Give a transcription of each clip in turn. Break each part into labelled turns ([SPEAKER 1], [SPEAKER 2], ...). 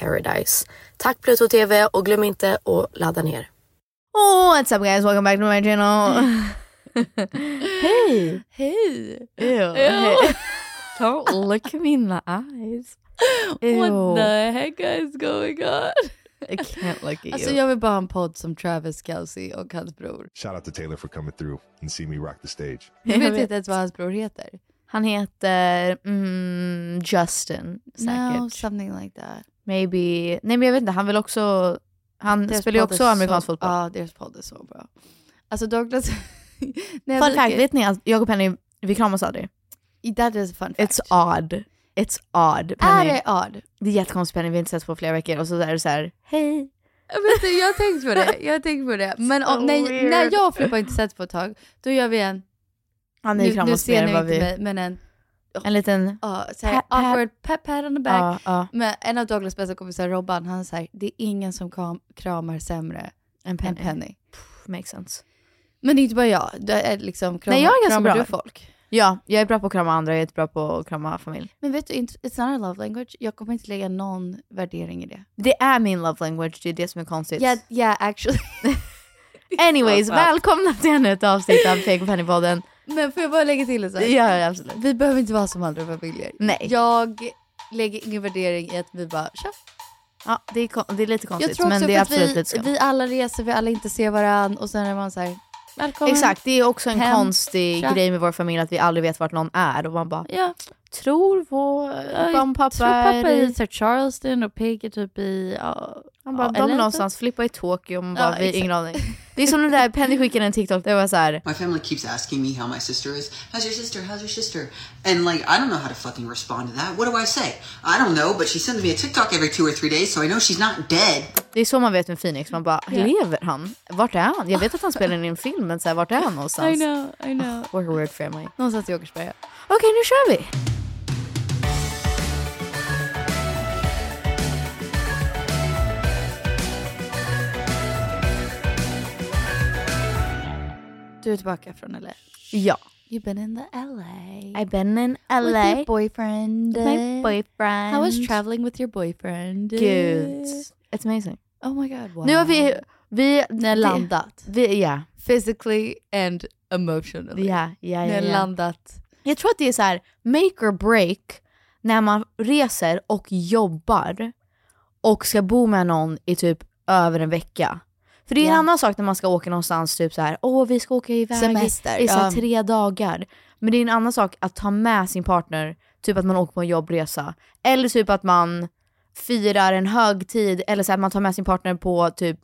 [SPEAKER 1] paradise. Tack Pluto TV och glöm inte att ladda ner.
[SPEAKER 2] Oh, what's up guys? Welcome back to my channel. hey.
[SPEAKER 3] Hey.
[SPEAKER 2] Ew. Hey.
[SPEAKER 3] Don't look me in the eyes.
[SPEAKER 2] Ew.
[SPEAKER 3] What the heck is going on?
[SPEAKER 2] I can't look at
[SPEAKER 3] Alltså
[SPEAKER 2] you.
[SPEAKER 3] jag vill bara ha en podd som Travis Kelce och hans bror.
[SPEAKER 4] Shout out to Taylor for coming through and see me rock the stage.
[SPEAKER 3] Jag
[SPEAKER 2] Jag
[SPEAKER 3] vet
[SPEAKER 2] vet.
[SPEAKER 3] inte ens vad hans bror heter.
[SPEAKER 2] Han heter mm, Justin säkert.
[SPEAKER 3] No, something like that.
[SPEAKER 2] Maybe. Nej men jag vet inte, han vill också... Han
[SPEAKER 3] Deras
[SPEAKER 2] spelar ju
[SPEAKER 3] podd är
[SPEAKER 2] också amerikansk
[SPEAKER 3] så,
[SPEAKER 2] fotboll.
[SPEAKER 3] Ja, deras podd är så bra. Alltså Douglas... Nej,
[SPEAKER 2] Fun fact, vet ni att jag och Penny, vi kramas aldrig.
[SPEAKER 3] That is a fun fact.
[SPEAKER 2] It's odd. It's odd
[SPEAKER 3] Är
[SPEAKER 2] Penny.
[SPEAKER 3] det odd?
[SPEAKER 2] Det är jättekonstigt Penny, vi har inte setts på flera veckor och så är det så här, hej.
[SPEAKER 3] Jag vet inte, jag har tänkt på det. Jag har tänkt på det. Men
[SPEAKER 2] So
[SPEAKER 3] om, när,
[SPEAKER 2] weird.
[SPEAKER 3] när jag och Filippa inte sett på ett tag, då gör vi en...
[SPEAKER 2] Ja, ni
[SPEAKER 3] Nu, nu
[SPEAKER 2] kramas
[SPEAKER 3] ser
[SPEAKER 2] mer
[SPEAKER 3] ni
[SPEAKER 2] än vad
[SPEAKER 3] inte
[SPEAKER 2] vi...
[SPEAKER 3] mig, men en...
[SPEAKER 2] En liten...
[SPEAKER 3] ja så här,
[SPEAKER 2] Pat- pat-
[SPEAKER 3] awkward pat, pat on the back.
[SPEAKER 2] Ja, ja.
[SPEAKER 3] Men en av Douglas bästa kompisar, Robban, han säger det är ingen som kam- kramar sämre
[SPEAKER 2] En
[SPEAKER 3] än
[SPEAKER 2] penny.
[SPEAKER 3] Penny.
[SPEAKER 2] Makes sense.
[SPEAKER 3] Men det är inte bara jag. Det är liksom, kramar,
[SPEAKER 2] Nej, jag är ganska
[SPEAKER 3] kramar
[SPEAKER 2] bra.
[SPEAKER 3] du folk?
[SPEAKER 2] Ja, jag är bra på att krama andra, jag är inte bra på att krama familj.
[SPEAKER 3] Men vet du, inte- it's not a love language. Jag kommer inte lägga någon värdering i det.
[SPEAKER 2] Det är min love language, det är det som är konstigt.
[SPEAKER 3] Yeah, yeah actually.
[SPEAKER 2] Anyways,
[SPEAKER 3] Så skönt.
[SPEAKER 2] välkomna till ännu ett avsnitt av Peg och Pennypodden.
[SPEAKER 3] Men får jag bara lägga till en sak?
[SPEAKER 2] Ja, ja, absolut.
[SPEAKER 3] Vi behöver inte vara som andra familjer.
[SPEAKER 2] Nej.
[SPEAKER 3] Jag lägger ingen värdering i att vi bara tja.
[SPEAKER 2] Ja, det är, kon- det är lite
[SPEAKER 3] Jag
[SPEAKER 2] konstigt,
[SPEAKER 3] tror
[SPEAKER 2] men
[SPEAKER 3] också
[SPEAKER 2] det är
[SPEAKER 3] för
[SPEAKER 2] absolut
[SPEAKER 3] att
[SPEAKER 2] lite
[SPEAKER 3] vi,
[SPEAKER 2] skumt.
[SPEAKER 3] vi alla reser, vi alla inte ser varandra och sen är man så här, välkommen.
[SPEAKER 2] Exakt, det är också en
[SPEAKER 3] Hem.
[SPEAKER 2] konstig
[SPEAKER 3] Tja.
[SPEAKER 2] grej med vår familj att vi aldrig vet vart någon är. Och man bara,
[SPEAKER 3] Ja. tror vår
[SPEAKER 1] jag
[SPEAKER 3] om pappa,
[SPEAKER 1] tror pappa
[SPEAKER 3] är
[SPEAKER 1] är-
[SPEAKER 3] i Sir Charleston och Pig är typ i... ja,
[SPEAKER 1] Han bara,
[SPEAKER 3] ja,
[SPEAKER 1] de
[SPEAKER 3] Ellen.
[SPEAKER 1] någonstans, Flippa i Tokyo, man
[SPEAKER 3] Ja,
[SPEAKER 1] bara, vi
[SPEAKER 3] exakt.
[SPEAKER 1] ingen aning. Det är som den där, Penny skickade en TikTok, det var så här,
[SPEAKER 5] My family keeps asking me how my sister is. How's your sister? How's your sister? And like, I don't know how to fucking respond to that. What do I say? I don't know, but she sends me a TikTok every two or three days, so I know she's not dead.
[SPEAKER 1] det är så man vet med Phoenix, man bara, lever han? Vart är han? Jag vet att han spelar in en film, men så här, vart är han någonstans?
[SPEAKER 3] I know, I know.
[SPEAKER 1] We're a weird family.
[SPEAKER 3] Någonstans i Åkersberga.
[SPEAKER 1] Okej, nu kör vi!
[SPEAKER 3] Du är tillbaka från LA.
[SPEAKER 1] Ja.
[SPEAKER 3] You've been in the LA.
[SPEAKER 1] I've been in
[SPEAKER 3] With
[SPEAKER 1] LA.
[SPEAKER 3] your boyfriend.
[SPEAKER 1] My boyfriend.
[SPEAKER 3] How was traveling with your boyfriend?
[SPEAKER 1] Gud. It's amazing.
[SPEAKER 3] Oh my god, wow.
[SPEAKER 1] Nu har vi, vi,
[SPEAKER 3] Ni har landat.
[SPEAKER 1] vi, ja,
[SPEAKER 3] Physically and emotionally.
[SPEAKER 1] ja, ja,
[SPEAKER 3] Ni
[SPEAKER 1] ja,
[SPEAKER 3] har
[SPEAKER 1] ja.
[SPEAKER 3] landat.
[SPEAKER 1] Jag tror att det är så här, make or break när man reser och jobbar och ska bo med någon i typ över en vecka. För det är
[SPEAKER 3] Ja.
[SPEAKER 1] en annan sak när man ska åka någonstans, typ så här, åh vi ska åka iväg i-
[SPEAKER 3] Semester,
[SPEAKER 1] i så här,
[SPEAKER 3] ja.
[SPEAKER 1] tre dagar. Men det är en annan sak att ta med sin partner, typ att man åker på en jobbresa. Eller typ att man firar en högtid, eller så här, att man tar med sin partner på typ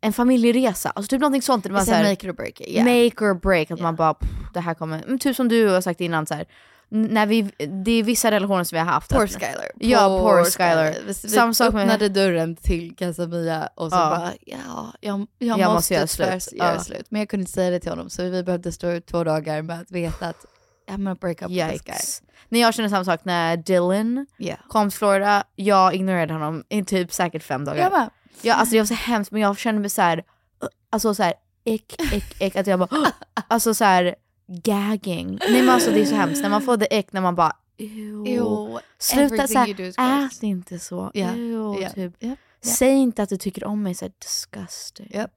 [SPEAKER 1] en familjeresa. Alltså typ någonting sånt. där Man,
[SPEAKER 3] It's
[SPEAKER 1] så här,
[SPEAKER 3] a make or break. Yeah.
[SPEAKER 1] make or break. Att man bara, pff, det här kommer, men typ som du har sagt innan, så här, n- när vi, det är vissa relationer som vi har haft.
[SPEAKER 3] Poor
[SPEAKER 1] att-
[SPEAKER 3] Skyler.
[SPEAKER 1] Ja, poor Skyler.
[SPEAKER 3] Vi-
[SPEAKER 1] Samma
[SPEAKER 3] Vi
[SPEAKER 1] sak med-
[SPEAKER 3] öppnade dörren till Casamia och så
[SPEAKER 1] Ja.
[SPEAKER 3] bara, ja, jag,
[SPEAKER 1] Jag
[SPEAKER 3] jag, måste
[SPEAKER 1] måste göra slut.
[SPEAKER 3] tyvärr göra
[SPEAKER 1] Ja.
[SPEAKER 3] slut. Men jag kunde inte säga det till honom så vi behövde stå ut två dagar med att veta att I'm gonna break up with this
[SPEAKER 1] Yikes. När jag känner samma sak när Dylan
[SPEAKER 3] guy. Yeah.
[SPEAKER 1] kom till Florida, jag ignorerade honom i typ säkert fem dagar.
[SPEAKER 3] Jag bara,
[SPEAKER 1] Ja, alltså det var så hemskt men jag kände mig så här, uh, alltså så här, ick, ick, ick, att jag bara, uh, alltså så här, gagging. Nej men alltså det är så hemskt när man får det ick när man bara, ew.
[SPEAKER 3] ew,
[SPEAKER 1] Sluta
[SPEAKER 3] everything
[SPEAKER 1] så
[SPEAKER 3] you do
[SPEAKER 1] här,
[SPEAKER 3] is gross.
[SPEAKER 1] ät inte så.
[SPEAKER 3] Ja,
[SPEAKER 1] Ew,
[SPEAKER 3] ja,
[SPEAKER 1] typ.
[SPEAKER 3] ja, ja.
[SPEAKER 1] Säg inte att du tycker om mig, så här, disgusting.
[SPEAKER 3] Ja.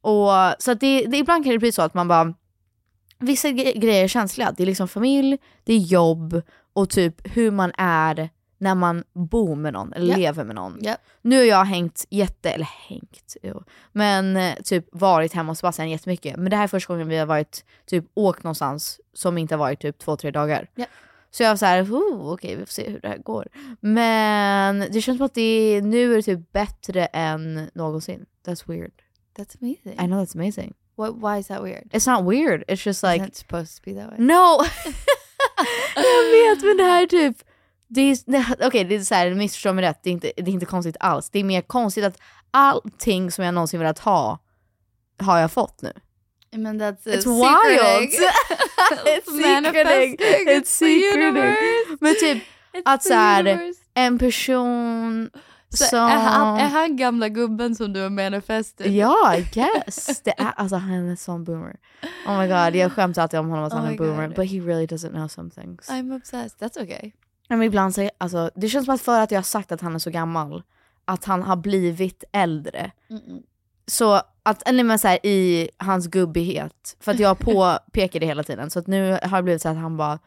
[SPEAKER 1] Och, så att det, det, ibland kan det bli så att man bara, vissa gre- grejer är känsliga. Det är liksom familj, det är jobb och typ hur man är när man bor med någon eller
[SPEAKER 3] Ja.
[SPEAKER 1] lever med någon.
[SPEAKER 3] Ja.
[SPEAKER 1] Nu har jag hängt jätte, eller hängt, jo. men eh, typ varit hemma hos Sebastian jättemycket. Men det här är första gången vi har varit, typ åkt någonstans som inte har varit typ två, tre dagar.
[SPEAKER 3] Ja.
[SPEAKER 1] Så jag var såhär, oh, okej vi får se hur det här går. Men det känns som att det, nu är det typ bättre än någonsin. That's weird.
[SPEAKER 3] That's amazing.
[SPEAKER 1] I know that's amazing.
[SPEAKER 3] What, why is that weird?
[SPEAKER 1] It's not weird, it's just
[SPEAKER 3] Like,
[SPEAKER 1] like
[SPEAKER 3] It's not supposed to be that way.
[SPEAKER 1] No! jag vet men det här är typ, det är, nej, okej det är så här, missförstå mig rätt, det är, inte, det är inte konstigt alls. Det är mer konstigt att allting som jag någonsin velat ha, har jag fått nu.
[SPEAKER 3] I mean, that's
[SPEAKER 1] It's wild! It's secreting!
[SPEAKER 3] Manifesting.
[SPEAKER 1] It's
[SPEAKER 3] It's the
[SPEAKER 1] secreting!
[SPEAKER 3] universe.
[SPEAKER 1] Men typ att
[SPEAKER 3] the
[SPEAKER 1] så här,
[SPEAKER 3] universe.
[SPEAKER 1] en person
[SPEAKER 3] Så eh,
[SPEAKER 1] som...
[SPEAKER 3] Är, han, är han gamla gubben som du har manifestat?
[SPEAKER 1] Ja, I guess. Det är, alltså han är en sån boomer. Oh my god, jag skämtar alltid om honom att
[SPEAKER 3] Oh
[SPEAKER 1] han är
[SPEAKER 3] my
[SPEAKER 1] en boomer.
[SPEAKER 3] God.
[SPEAKER 1] But he really doesn't know some things.
[SPEAKER 3] I'm obsessed, that's okay.
[SPEAKER 1] Ja, Men ibland så, alltså, det känns som att för att jag har sagt att han är så gammal, att han har blivit äldre. Så att, nej men så här, i hans gubbighet, för att jag påpekar det hela tiden. Så att nu har det blivit så att han bara,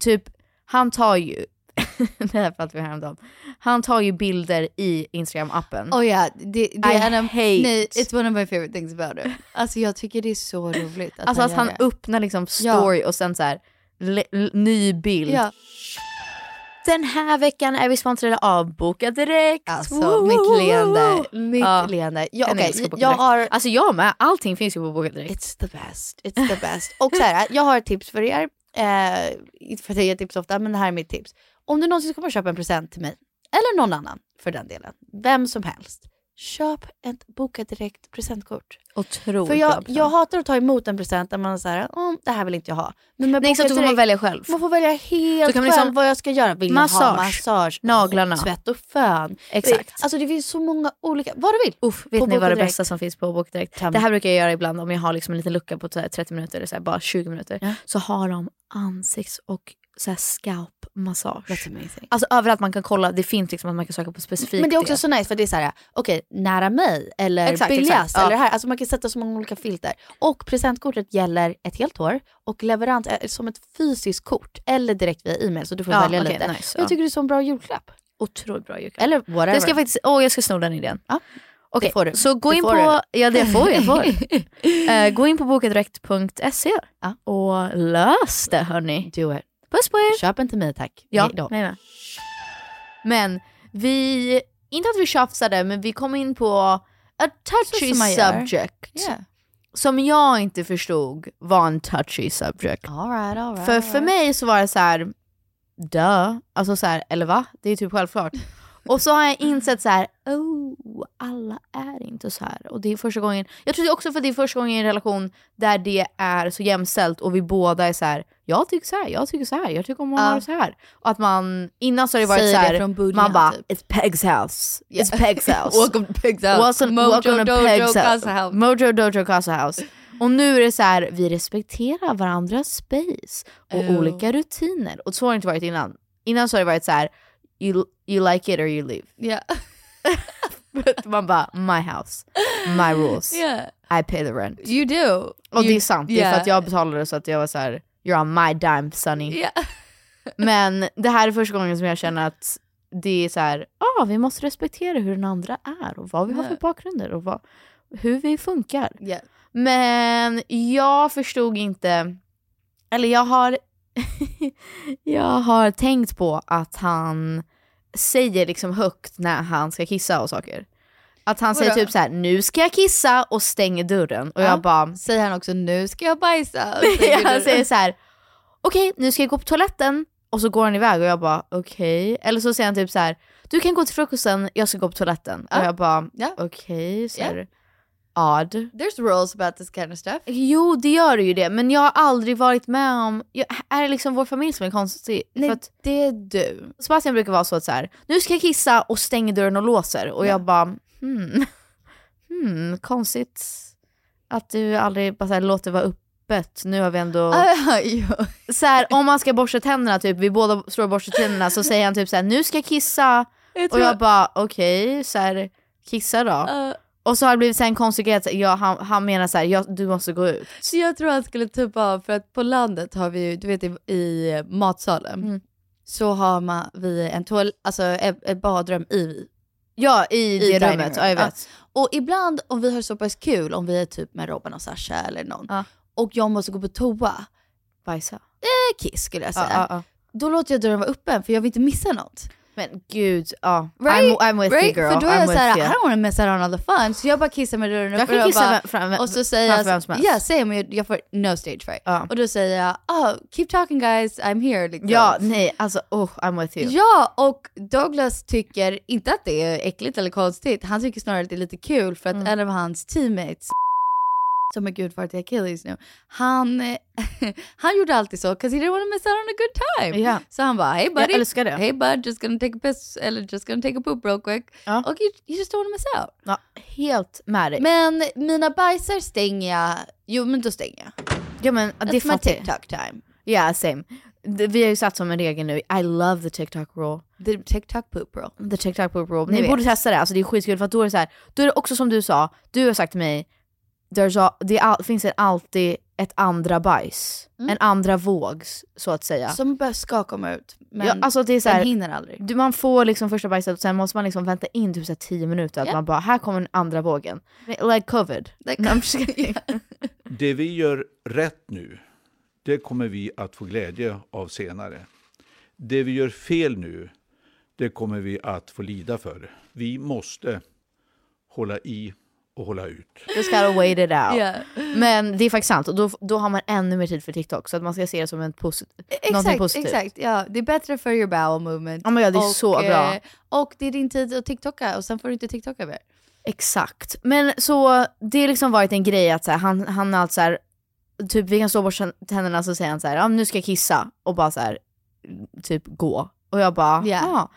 [SPEAKER 1] typ, han tar ju, det här pratade vi häromdagen, han tar ju bilder i Instagram-appen.
[SPEAKER 3] Oh ja, det, det
[SPEAKER 1] Mm. I
[SPEAKER 3] är en...
[SPEAKER 1] hate.
[SPEAKER 3] Nej, it's one of my favorite things about him. Alltså jag tycker det är så roligt att
[SPEAKER 1] alltså
[SPEAKER 3] han
[SPEAKER 1] att han
[SPEAKER 3] gör det.
[SPEAKER 1] öppnar liksom story och sen så här, le, l- ny bild.
[SPEAKER 3] Ja,
[SPEAKER 1] Den här veckan är vi sponsrade av Boka Direkt.
[SPEAKER 3] alltså
[SPEAKER 1] Woho!
[SPEAKER 3] mitt leende. Mitt
[SPEAKER 1] Ja.
[SPEAKER 3] leende.
[SPEAKER 1] Ja,
[SPEAKER 3] Ja,
[SPEAKER 1] okej,
[SPEAKER 3] okay. jag,
[SPEAKER 1] jag
[SPEAKER 3] har...
[SPEAKER 1] har... Alltså jag med, allting finns ju på Boka Direkt.
[SPEAKER 3] It's the best, it's the best. Och så här, jag har ett tips för er. Eh, inte för att jag ger tips ofta, men det här är mitt tips. Om du någonsin kommer köpa en present till mig, eller någon annan för den delen, vem som helst, köp ett Boka Direkt presentkort.
[SPEAKER 1] Otroligt
[SPEAKER 3] För jag, jag hatar att ta emot en present där man är så här, "Åh, det här vill inte jag ha. Men med
[SPEAKER 1] Nej, så
[SPEAKER 3] Boka
[SPEAKER 1] då får man
[SPEAKER 3] Direkt-
[SPEAKER 1] välja själv.
[SPEAKER 3] Man får välja helt
[SPEAKER 1] Så kan man
[SPEAKER 3] själv
[SPEAKER 1] liksom-
[SPEAKER 3] vad jag ska göra. Vill jag ha
[SPEAKER 1] Massage,
[SPEAKER 3] massage,
[SPEAKER 1] naglarna.
[SPEAKER 3] tvätt och fön?
[SPEAKER 1] Exakt.
[SPEAKER 3] Alltså det finns så många olika, vad du vill.
[SPEAKER 1] Uff, vet
[SPEAKER 3] på
[SPEAKER 1] ni
[SPEAKER 3] Boka
[SPEAKER 1] vad det
[SPEAKER 3] Direkt.
[SPEAKER 1] bästa som finns på Boka Direkt?
[SPEAKER 3] Kan-
[SPEAKER 1] Det här brukar jag göra ibland om jag har liksom en liten lucka på så här 30 minuter eller så här bara 20 minuter. Så har de ansikts och så här scalp-massage.
[SPEAKER 3] amazing.
[SPEAKER 1] Alltså överallt man kan kolla, det finns liksom att man kan söka på specifikt
[SPEAKER 3] Men det är också så nice för det är så här, okej, nära mig eller
[SPEAKER 1] Exakt,
[SPEAKER 3] billigast
[SPEAKER 1] exakt, ja.
[SPEAKER 3] eller här. Alltså man kan sätta så många olika filter. Och presentkortet gäller ett helt år och leverans är som ett fysiskt kort eller direkt via e-mail så du får
[SPEAKER 1] Ja,
[SPEAKER 3] välja
[SPEAKER 1] okej,
[SPEAKER 3] lite.
[SPEAKER 1] nice,
[SPEAKER 3] jag
[SPEAKER 1] ja.
[SPEAKER 3] tycker det är så en bra julklapp.
[SPEAKER 1] Otroligt bra julklapp.
[SPEAKER 3] Eller whatever.
[SPEAKER 1] Det ska jag faktiskt, åh jag ska sno den idén.
[SPEAKER 3] Ja,
[SPEAKER 1] Okej,
[SPEAKER 3] får du.
[SPEAKER 1] så gå
[SPEAKER 3] Det
[SPEAKER 1] in
[SPEAKER 3] får
[SPEAKER 1] på, ja det får jag, får. Eh, gå in på bokadirekt.se
[SPEAKER 3] Ja.
[SPEAKER 1] och lös det hörni.
[SPEAKER 3] Do it. Puss puss! Köp inte mig tack.
[SPEAKER 1] Ja,
[SPEAKER 3] Hej då.
[SPEAKER 1] nej, nej. Men vi, inte att vi tjafsade, men vi kom in på a touchy
[SPEAKER 3] Så som man gör.
[SPEAKER 1] subject.
[SPEAKER 3] Yeah.
[SPEAKER 1] Som jag inte förstod var en touchy subject.
[SPEAKER 3] All right, all right,
[SPEAKER 1] För,
[SPEAKER 3] all
[SPEAKER 1] för
[SPEAKER 3] right.
[SPEAKER 1] mig så var det så här, duh, alltså så här, eller va? Det är typ självklart. Och så har jag insett så här, oh, alla är inte så här. Och det är första gången, jag tror det är också för att det är första gången i en relation där det är så jämställt och vi båda är så här, jag tycker så här, jag tycker så här, jag tycker om att
[SPEAKER 3] Ja.
[SPEAKER 1] ha det så här. Och att man, innan så har det varit
[SPEAKER 3] Säger
[SPEAKER 1] så
[SPEAKER 3] det
[SPEAKER 1] här,
[SPEAKER 3] från början,
[SPEAKER 1] man bara,
[SPEAKER 3] typ.
[SPEAKER 1] it's Peg's house, it's Peg's house.
[SPEAKER 3] Welcome to Pigs House.
[SPEAKER 1] Welcome,
[SPEAKER 3] Mojo
[SPEAKER 1] welcome to
[SPEAKER 3] Dojo
[SPEAKER 1] Peg's house.
[SPEAKER 3] Casa House.
[SPEAKER 1] Mojo Dojo Casa House. Och nu är det så här, vi respekterar varandras space och
[SPEAKER 3] Oh.
[SPEAKER 1] olika rutiner. Och så har det inte varit innan. Innan så har det varit så här, you, you like it or you leave.
[SPEAKER 3] Yeah.
[SPEAKER 1] But Man bara, my house, my rules,
[SPEAKER 3] yeah.
[SPEAKER 1] I pay the rent.
[SPEAKER 3] You do.
[SPEAKER 1] Och
[SPEAKER 3] you,
[SPEAKER 1] det är sant, det är för
[SPEAKER 3] yeah.
[SPEAKER 1] att jag betalade så att jag var så här, you're on my dime sonny.
[SPEAKER 3] Yeah.
[SPEAKER 1] Men det här är första gången som jag känner att det är så här, ah, vi måste respektera hur den andra är och vad vi har för
[SPEAKER 3] Ja.
[SPEAKER 1] bakgrunder och vad, hur vi funkar.
[SPEAKER 3] Yeah.
[SPEAKER 1] Men jag förstod inte, eller jag har, jag har tänkt på att han säger liksom högt när han ska kissa och saker. Att han säger
[SPEAKER 3] Vadå?
[SPEAKER 1] typ så här: nu ska jag kissa och stänger dörren. Och
[SPEAKER 3] Ja.
[SPEAKER 1] jag bara,
[SPEAKER 3] Säger han också nu ska jag bajsa? Och
[SPEAKER 1] Nej,
[SPEAKER 3] tänker
[SPEAKER 1] han
[SPEAKER 3] du-
[SPEAKER 1] säger så här: okej nu ska jag gå på toaletten och så går han iväg och jag bara okej. Eller så säger han typ så här: du kan gå till frukosten, jag ska gå på toaletten.
[SPEAKER 3] Ja.
[SPEAKER 1] Och jag bara
[SPEAKER 3] Ja.
[SPEAKER 1] okej, så
[SPEAKER 3] Ja.
[SPEAKER 1] här, odd.
[SPEAKER 3] There's rules about this kind of stuff.
[SPEAKER 1] Jo det gör det ju det, men jag har aldrig varit med om, jag, är det liksom vår familj som är konstig?
[SPEAKER 3] Nej,
[SPEAKER 1] För att
[SPEAKER 3] det är du.
[SPEAKER 1] Sebastian brukar vara så att så här, nu ska jag kissa och stänger dörren och låser. Och
[SPEAKER 3] Ja.
[SPEAKER 1] jag bara hmm, hmm, konstigt att du aldrig bara så här, låter vara öppet. Nu har vi ändå
[SPEAKER 3] Ah, jo.
[SPEAKER 1] så här, om man ska borsta tänderna, typ, vi båda står och borstar tänderna, så säger han typ så här: nu ska jag kissa.
[SPEAKER 3] Jag
[SPEAKER 1] Och
[SPEAKER 3] tror,
[SPEAKER 1] jag bara okej, så här, kissa då.
[SPEAKER 3] Ja.
[SPEAKER 1] Och så har det blivit så här en konstig grej, att ja, han, han menar så här, ja, du måste gå ut.
[SPEAKER 3] så jag tror han skulle typa av för att på landet har vi ju, du vet i, i matsalen,
[SPEAKER 1] Mm.
[SPEAKER 3] så har man, vi en toal, alltså ett, ett badrum i
[SPEAKER 1] Ja, i, det
[SPEAKER 3] dining
[SPEAKER 1] rummet.
[SPEAKER 3] room.
[SPEAKER 1] Ja, jag vet.
[SPEAKER 3] Och ibland om vi har så pass kul, om vi är typ med Robban och Sasha eller någon,
[SPEAKER 1] Ja.
[SPEAKER 3] och jag måste gå på toa,
[SPEAKER 1] Typ Bajsa.
[SPEAKER 3] eh, kiss skulle jag
[SPEAKER 1] Ja,
[SPEAKER 3] säga,
[SPEAKER 1] ja, ja.
[SPEAKER 3] då låter jag dörren vara öppen för jag vill inte missa något.
[SPEAKER 1] Men gud, ja.
[SPEAKER 3] Right?
[SPEAKER 1] I'm, I'm with
[SPEAKER 3] right?
[SPEAKER 1] you girl.
[SPEAKER 3] För då är
[SPEAKER 1] I'm
[SPEAKER 3] jag
[SPEAKER 1] with
[SPEAKER 3] såhär, I
[SPEAKER 1] you.
[SPEAKER 3] don't wanna miss out on all the fun, så jag bara kissar med dörren
[SPEAKER 1] Jag
[SPEAKER 3] öppen
[SPEAKER 1] kan
[SPEAKER 3] och
[SPEAKER 1] kissa
[SPEAKER 3] bara-
[SPEAKER 1] fram- fram,
[SPEAKER 3] Och så säger jag,
[SPEAKER 1] framför vem som helst.
[SPEAKER 3] ja säger man ju, jag får no stage fright.
[SPEAKER 1] Ja.
[SPEAKER 3] Och då säger jag, oh, keep talking guys, I'm here. Liksom.
[SPEAKER 1] Ja, nej alltså oh, I'm with you.
[SPEAKER 3] ja, och Douglas tycker inte att det är äckligt eller konstigt, han tycker snarare att det är lite kul för att
[SPEAKER 1] Mm.
[SPEAKER 3] en av hans teammates som är gudfar till Achilles nu, han, eh, han gjorde alltid så, 'cause he didn't want to miss out on a good time.
[SPEAKER 1] Ja.
[SPEAKER 3] Så han bara, hey buddy,
[SPEAKER 1] Jag älskar det.
[SPEAKER 3] hey bud, just gonna take a piss, eller just gonna take a poop real quick.
[SPEAKER 1] Ja.
[SPEAKER 3] Och you, you just don't wanna miss out.
[SPEAKER 1] Ja, helt med dig.
[SPEAKER 3] Men mina bajsar stänger jag, jo men då stänger jag.
[SPEAKER 1] ja, men, det
[SPEAKER 3] That's my
[SPEAKER 1] fattar jag.
[SPEAKER 3] TikTok time.
[SPEAKER 1] Ja, same. Det- Vi har ju satt som en regel nu, I love the TikTok rule.
[SPEAKER 3] The TikTok poop roll.
[SPEAKER 1] The TikTok poop rule.
[SPEAKER 3] Ni
[SPEAKER 1] Ni
[SPEAKER 3] vet.
[SPEAKER 1] borde testa det, alltså det är skitkul för att då är det så här, då är det också som du sa, du har sagt till mig, there's a, det är all, finns det alltid ett andra bajs. En andra vågs, så att säga.
[SPEAKER 3] Som bara ska komma ut, men
[SPEAKER 1] ja, alltså det är så
[SPEAKER 3] den
[SPEAKER 1] här,
[SPEAKER 3] hinner aldrig.
[SPEAKER 1] du, man får liksom första bajset och sen måste man liksom vänta in typ så här 10 minuter, att
[SPEAKER 3] Ja.
[SPEAKER 1] man bara, här kommer den andra vågen. Like covid.
[SPEAKER 3] Like-
[SPEAKER 1] Nej, I'm just kidding.
[SPEAKER 6] Det vi gör rätt nu, det kommer vi att få glädje av senare. Det vi gör fel nu, det kommer vi att få lida för. Vi måste hålla i och hålla ut.
[SPEAKER 1] Just gotta wait it out.
[SPEAKER 3] Ja.
[SPEAKER 1] Men det är faktiskt sant, och då, då har man ännu mer tid för TikTok, så att man ska se det som en posit- någonting
[SPEAKER 3] Exakt,
[SPEAKER 1] positivt.
[SPEAKER 3] exakt. Ja, det är bättre för your bowel movement.
[SPEAKER 1] Ja, men ja, det är
[SPEAKER 3] och,
[SPEAKER 1] så bra.
[SPEAKER 3] eh, Och det är din tid att TikToka och sen får du inte TikToka mer.
[SPEAKER 1] Exakt. Men så det har liksom varit en grej att så här, han, han har allt så här, typ vi kan stå och borsta tänderna så säger han så här, ja men nu ska jag kissa och bara så här, typ gå. Och jag bara,
[SPEAKER 3] Ja.
[SPEAKER 1] ja.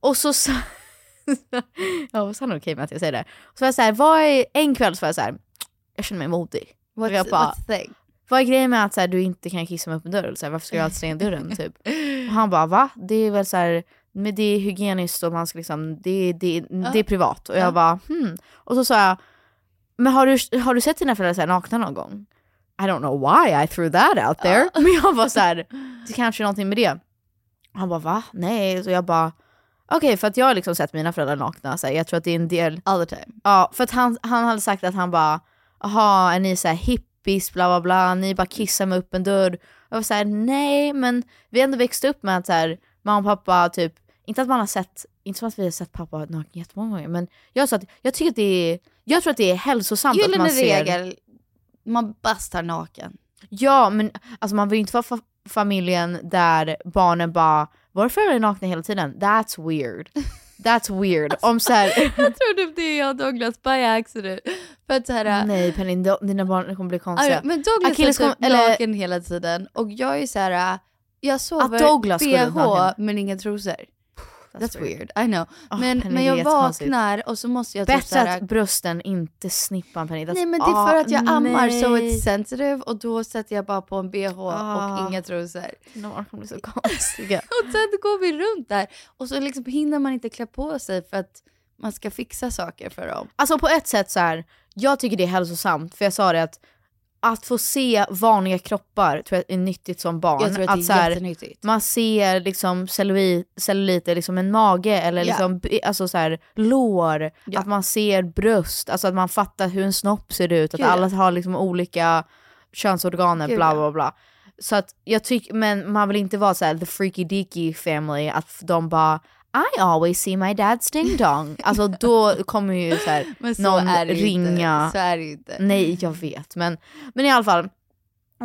[SPEAKER 1] Och så sa, jag hoppas han är okej med att jag säger det. Så var jag så här, vad är, en kväll så var jag så här, jag känner mig modig.
[SPEAKER 3] What's,
[SPEAKER 1] jag bara-
[SPEAKER 3] what's the thing?
[SPEAKER 1] Vad är grejen med att så här, du inte kan kissa med öppen dörr? Eller Så här, varför ska jag alltid stänga dörren? Typ? Och han bara va? Det är väl så här, men det är hygieniskt och man ska liksom, det, det, det är privat. Och jag
[SPEAKER 3] Ja.
[SPEAKER 1] bara hmm. Och så sa jag, men har du, har du sett dina föräldrar så här, nakna någon gång? I don't know why I threw that out there. Men jag var så här, det kanske är någonting med det. Och han bara va? Nej. Så jag bara okej för att jag har liksom sett mina föräldrar nakna. Så här, jag tror att det är en del
[SPEAKER 3] All the time.
[SPEAKER 1] Ja, för att han, han hade sagt att han bara, jaha, är ni så här hippie
[SPEAKER 3] typiskt, bla bla bla, ni bara kissar med öppen dörr. Jag var så här, nej, men vi har ändå växt upp med att så här, mamma och pappa, typ, inte att man har sett, inte som att vi har sett pappa naken jättemånga gånger, men jag sa att jag tycker att det är, jag tror att det är hälsosamt att
[SPEAKER 6] Gyllene
[SPEAKER 3] man ser.
[SPEAKER 6] regel, man bastar naken.
[SPEAKER 3] Ja, men alltså man vill inte vara fa- familjen där barnen bara, våra föräldrar är nakna hela tiden, that's weird. That's weird. Om så här,
[SPEAKER 6] Alltså, jag tror typ det är jag och Douglas by accident. För att så här,
[SPEAKER 1] Mm.
[SPEAKER 3] nej Penny, do- dina barn kommer bli konstiga.
[SPEAKER 6] Aj, men Douglas
[SPEAKER 3] Achilles
[SPEAKER 6] Achilles
[SPEAKER 3] kom-
[SPEAKER 6] kom,
[SPEAKER 3] eller-
[SPEAKER 6] naken hela tiden och jag är så här. äh, jag sover
[SPEAKER 3] Douglas skulle
[SPEAKER 6] bh
[SPEAKER 3] vara naken.
[SPEAKER 6] men inga trosor. Mm, That's, weird. I know.
[SPEAKER 3] Ah,
[SPEAKER 6] men,
[SPEAKER 3] Penny,
[SPEAKER 6] men
[SPEAKER 3] det är
[SPEAKER 6] jag
[SPEAKER 3] jättekonstigt.
[SPEAKER 6] vaknar och så måste jag typ så
[SPEAKER 3] Bättre
[SPEAKER 6] här,
[SPEAKER 3] att brösten inte snippan Penny. That's-
[SPEAKER 6] Nej men det är för
[SPEAKER 3] Ah,
[SPEAKER 6] att jag ammar så
[SPEAKER 3] nej.
[SPEAKER 6] it's sensitive och då sätter jag bara på en bh
[SPEAKER 3] Ah.
[SPEAKER 6] och inga trosor.
[SPEAKER 3] Dina barn kommer bli så konstiga.
[SPEAKER 6] Och sen går vi runt där och så liksom hinner man inte klä på sig för att man ska fixa saker för dem.
[SPEAKER 3] Alltså på ett sätt så här, jag tycker det är hälsosamt för jag sa det att att få se vanliga kroppar tror jag är nyttigt som barn.
[SPEAKER 6] Jag tror att det är
[SPEAKER 3] så här,
[SPEAKER 6] jättenyttigt.
[SPEAKER 3] Man ser liksom cellulit, celluliter, liksom en mage eller
[SPEAKER 6] Ja.
[SPEAKER 3] liksom, be- alltså så här, lår, att man ser bröst, alltså att man fattar hur en snopp ser ut, att
[SPEAKER 6] Gud, ja.
[SPEAKER 3] alla har liksom olika könsorganer,
[SPEAKER 6] Gud,
[SPEAKER 3] bla
[SPEAKER 6] ja.
[SPEAKER 3] bla bla. Så att jag tycker, men man vill inte vara så här the freaky deaky family, att de bara I always see my dad's ding dong. Alltså då kommer ju så här,
[SPEAKER 6] Men så
[SPEAKER 3] någon
[SPEAKER 6] är det ju
[SPEAKER 3] ringa.
[SPEAKER 6] Inte. Så är det ju inte.
[SPEAKER 3] Nej, jag vet. Men, men i alla fall.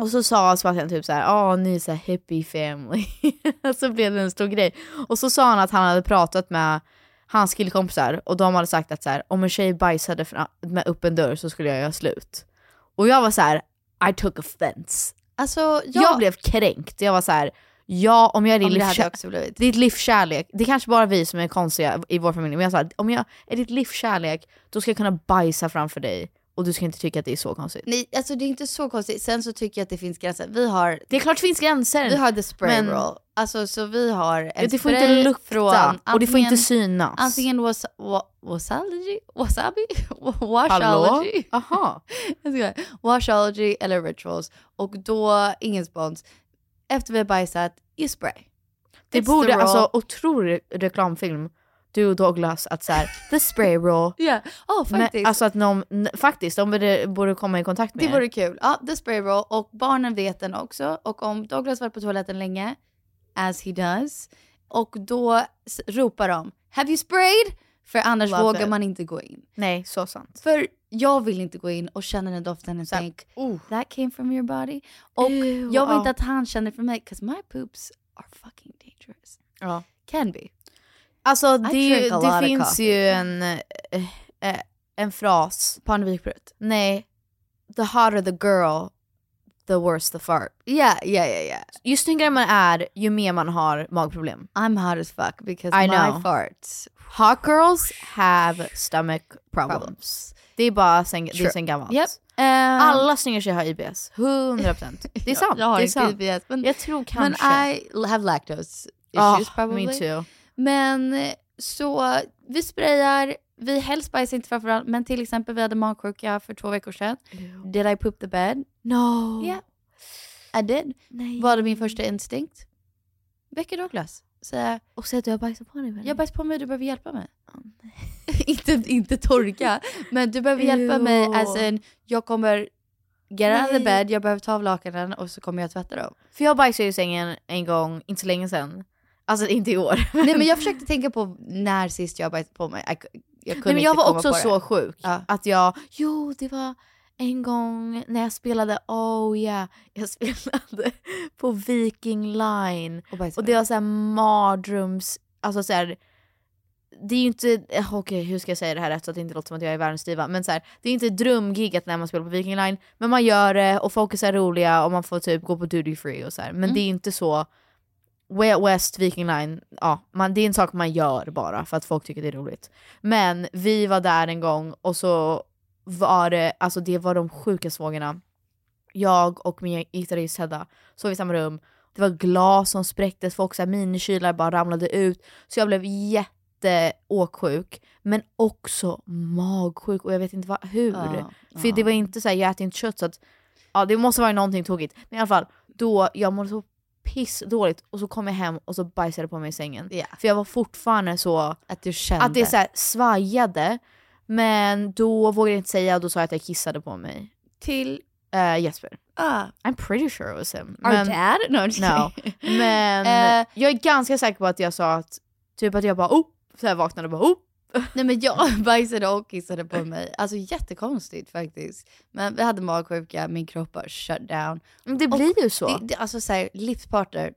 [SPEAKER 3] Och så sa Sebastian typ så här, ja ni är så här hippie family. så blev det en stor grej. Och så sa han att han hade pratat med hans killkompisar och de hade sagt att så här, om en tjej bajsade fra- med öppen dörr så skulle jag göra slut. Och jag var så här, I took offense.
[SPEAKER 6] Alltså,
[SPEAKER 3] Jag, blev kränkt. Jag var så här, ja om jag är
[SPEAKER 6] Om
[SPEAKER 3] din
[SPEAKER 6] det hade jag
[SPEAKER 3] livskär-
[SPEAKER 6] också blivit.
[SPEAKER 3] ditt livskärlek, det är kanske bara vi som är konstiga i vår familj, men jag sa att om jag är ditt livskärlek då ska jag kunna bajsa framför dig och du ska inte tycka att det är så konstigt.
[SPEAKER 6] Nej, alltså det är inte så konstigt. Sen så tycker jag att det finns gränser. Vi har,
[SPEAKER 3] Det är klart det finns gränser.
[SPEAKER 6] vi har the spray
[SPEAKER 3] Men-
[SPEAKER 6] roll. Alltså så vi har en
[SPEAKER 3] Ja, det får
[SPEAKER 6] spray
[SPEAKER 3] inte lukta
[SPEAKER 6] från
[SPEAKER 3] och det får
[SPEAKER 6] antingen-
[SPEAKER 3] inte synas.
[SPEAKER 6] Antingen was, wa, wasology, wasabi,
[SPEAKER 3] Hallå?
[SPEAKER 6] washology,
[SPEAKER 3] Aha.
[SPEAKER 6] Jag skojar. washology eller rituals. Och då ingen spons. Efter vi har bajsat, i spray.
[SPEAKER 3] Det
[SPEAKER 6] It's the
[SPEAKER 3] borde,
[SPEAKER 6] roll.
[SPEAKER 3] alltså otrolig reklamfilm, du och Douglas, att såhär, the spray roll.
[SPEAKER 6] Ja, oh,
[SPEAKER 3] Men,
[SPEAKER 6] faktiskt.
[SPEAKER 3] alltså att någon, n- faktiskt, de borde, borde komma i kontakt med
[SPEAKER 6] det
[SPEAKER 3] er.
[SPEAKER 6] vore kul. Ja, the spray roll. Och barnen vet den också. Och om Douglas varit på toaletten länge, as he does, och då s- ropar de “Have you sprayed?” För annars
[SPEAKER 3] Love
[SPEAKER 6] vågar
[SPEAKER 3] it.
[SPEAKER 6] man inte gå in.
[SPEAKER 3] Nej, så sant.
[SPEAKER 6] För jag vill inte gå in och känna den doften och
[SPEAKER 3] Så här,
[SPEAKER 6] tänk
[SPEAKER 3] oh.
[SPEAKER 6] “That came from your body”. Och
[SPEAKER 3] Ew,
[SPEAKER 6] jag vill
[SPEAKER 3] ja.
[SPEAKER 6] inte att han känner för mig, 'cause my poops are fucking dangerous.
[SPEAKER 3] Ja.
[SPEAKER 6] Can be.
[SPEAKER 3] Alltså
[SPEAKER 6] I
[SPEAKER 3] det, är ju-
[SPEAKER 6] drink a lot
[SPEAKER 3] det
[SPEAKER 6] of
[SPEAKER 3] finns
[SPEAKER 6] coffee.
[SPEAKER 3] ju en, eh, eh, en fras.
[SPEAKER 6] Parnevikbröd.
[SPEAKER 3] Nej, the hotter the girl, the worse the fart.
[SPEAKER 6] Yeah, yeah, yeah, yeah.
[SPEAKER 3] Ju snyggare man är, ju mer man har magproblem.
[SPEAKER 6] I'm hot as fuck because
[SPEAKER 3] I
[SPEAKER 6] my
[SPEAKER 3] know.
[SPEAKER 6] farts.
[SPEAKER 3] Hot girls have stomach problems.
[SPEAKER 6] Problems.
[SPEAKER 3] Det är bara sen, det är
[SPEAKER 6] True.
[SPEAKER 3] sen gammalt.
[SPEAKER 6] Yep.
[SPEAKER 3] Alla snygga tjejer har IBS, 100%. Det är sant.
[SPEAKER 6] Jag har
[SPEAKER 3] det är
[SPEAKER 6] inte
[SPEAKER 3] sant.
[SPEAKER 6] IBS, men-
[SPEAKER 3] jag tror
[SPEAKER 6] Men
[SPEAKER 3] kanske.
[SPEAKER 6] I have lactose
[SPEAKER 3] Ah,
[SPEAKER 6] issues probably.
[SPEAKER 3] Me too.
[SPEAKER 6] Men eh, så vi sprayar, vi helst bajsar inte framför allt, men till exempel vi hade magsjuka för två veckor sedan. Did I poop the bed?
[SPEAKER 3] No.
[SPEAKER 6] Yeah, I did.
[SPEAKER 3] Nej.
[SPEAKER 6] Var det min första instinkt? Väcker Douglas. Säga,
[SPEAKER 3] Och säg att du har bajsat på dig. Penny.
[SPEAKER 6] jag bajs på mig, du behöver hjälpa mig. inte, inte torka, men du behöver hjälpa mig
[SPEAKER 3] Ew.
[SPEAKER 6] as in, jag kommer get out of
[SPEAKER 3] Nej.
[SPEAKER 6] the bed, jag behöver ta av lakanen och så kommer jag tvätta dem.
[SPEAKER 3] För jag bajsade i sängen en gång, inte så länge sedan. Alltså inte i år.
[SPEAKER 6] Nej men jag försökte tänka på när sist jag bajsade på mig. Jag, jag kunde
[SPEAKER 3] Nej, men jag
[SPEAKER 6] inte
[SPEAKER 3] var
[SPEAKER 6] komma
[SPEAKER 3] också
[SPEAKER 6] på det.
[SPEAKER 3] så sjuk
[SPEAKER 6] Ja.
[SPEAKER 3] att jag, jo det var en gång när jag spelade, oh yeah, jag spelade på Viking Line
[SPEAKER 6] Och bajsade.
[SPEAKER 3] och det var såhär mardröms, alltså såhär, det är ju inte, eh, okej hur ska jag säga det här rätt så att det inte låter som att jag är världens diva, men såhär, det är inte drömgiget när man spelar på Viking Line, men man gör det och folk är såhär roliga och man får typ gå på duty free och såhär, men det är inte så Way Out West, Viking Line, ja, man, det är en sak man gör bara för att folk tycker det är roligt. Men vi var där en gång och så var det, alltså det var de sjukaste vågorna. Jag och min gitarrist Hedda sov i samma rum, det var glas som spräcktes, folk så här, minikylar bara ramlade ut. Så jag blev jätteåksjuk, men också magsjuk och jag vet inte vad, hur.
[SPEAKER 6] Ja,
[SPEAKER 3] För det var inte så här, jag äter inte kött så att ja, det måste vara någonting tokigt. Men i alla fall, då jag mådde så pissdåligt och så kom jag hem och så bajsade jag på mig i sängen.
[SPEAKER 6] Ja.
[SPEAKER 3] För jag var fortfarande så,
[SPEAKER 6] Att du kände.
[SPEAKER 3] att det så här, svajade. Men då vågade jag inte säga och då sa jag att jag kissade på mig.
[SPEAKER 6] till
[SPEAKER 3] Eh, Jesper.
[SPEAKER 6] Ah.
[SPEAKER 3] I'm pretty sure it was him.
[SPEAKER 6] Our dad? No, I'm just
[SPEAKER 3] no.
[SPEAKER 6] kidding.
[SPEAKER 3] Men
[SPEAKER 6] Eh.
[SPEAKER 3] jag är ganska säker på att jag sa att, typ att jag bara oh, så här vaknade och bara oh.
[SPEAKER 6] Nej men jag bajsade och kissade på mig. Alltså jättekonstigt faktiskt. Men vi hade magsjuka, min kropp bara shut down.
[SPEAKER 3] Men det
[SPEAKER 6] Och
[SPEAKER 3] blir ju så.
[SPEAKER 6] Det, det, alltså såhär, livspartner.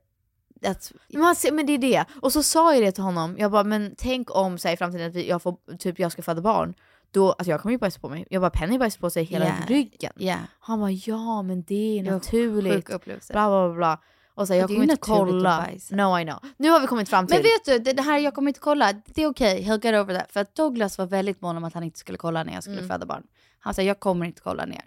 [SPEAKER 6] That's,
[SPEAKER 3] Man ser, men det är det. Och så sa jag det till honom, jag bara men tänk om så här, i framtiden att vi, jag, får, typ, jag ska föda barn, då, alltså jag kommer ju bajsa på mig. Jag bara Penny bajsar på sig hela
[SPEAKER 6] Yeah.
[SPEAKER 3] ryggen.
[SPEAKER 6] yeah.
[SPEAKER 3] Han bara ja men det är
[SPEAKER 6] Det var
[SPEAKER 3] naturligt.
[SPEAKER 6] Sjuk upplevelse.
[SPEAKER 3] Bla bla bla, bla. Och så här,
[SPEAKER 6] Och
[SPEAKER 3] jag
[SPEAKER 6] det är
[SPEAKER 3] kommer
[SPEAKER 6] ju
[SPEAKER 3] inte
[SPEAKER 6] naturligt att
[SPEAKER 3] kolla.
[SPEAKER 6] bajsa.
[SPEAKER 3] No I know. Nu har vi kommit fram till.
[SPEAKER 6] Men vet du, det, det här jag kommer inte kolla, det är okej, he'll get over that. För att Douglas var väldigt mån om att han inte skulle kolla när jag skulle föda barn. Han sa, jag kommer inte kolla ner.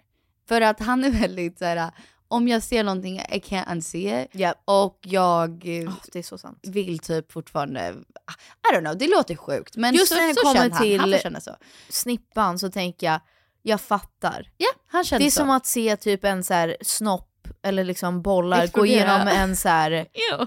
[SPEAKER 6] För att han är väldigt så här, om jag ser någonting, I can't unsee it.
[SPEAKER 3] Japp.
[SPEAKER 6] Och jag eh,
[SPEAKER 3] Åh, det är så sant.
[SPEAKER 6] vill typ fortfarande, ah, I don't know, det låter sjukt. Men
[SPEAKER 3] Just
[SPEAKER 6] så,
[SPEAKER 3] när det
[SPEAKER 6] så
[SPEAKER 3] kommer
[SPEAKER 6] känner han, han
[SPEAKER 3] till-
[SPEAKER 6] får känna så.
[SPEAKER 3] Snippan så tänker jag, jag fattar.
[SPEAKER 6] Ja, han känner
[SPEAKER 3] Det är
[SPEAKER 6] så.
[SPEAKER 3] som att se typ en så här snopp eller liksom bollar gå
[SPEAKER 6] Explodera.
[SPEAKER 3] igenom en så här
[SPEAKER 6] Ew.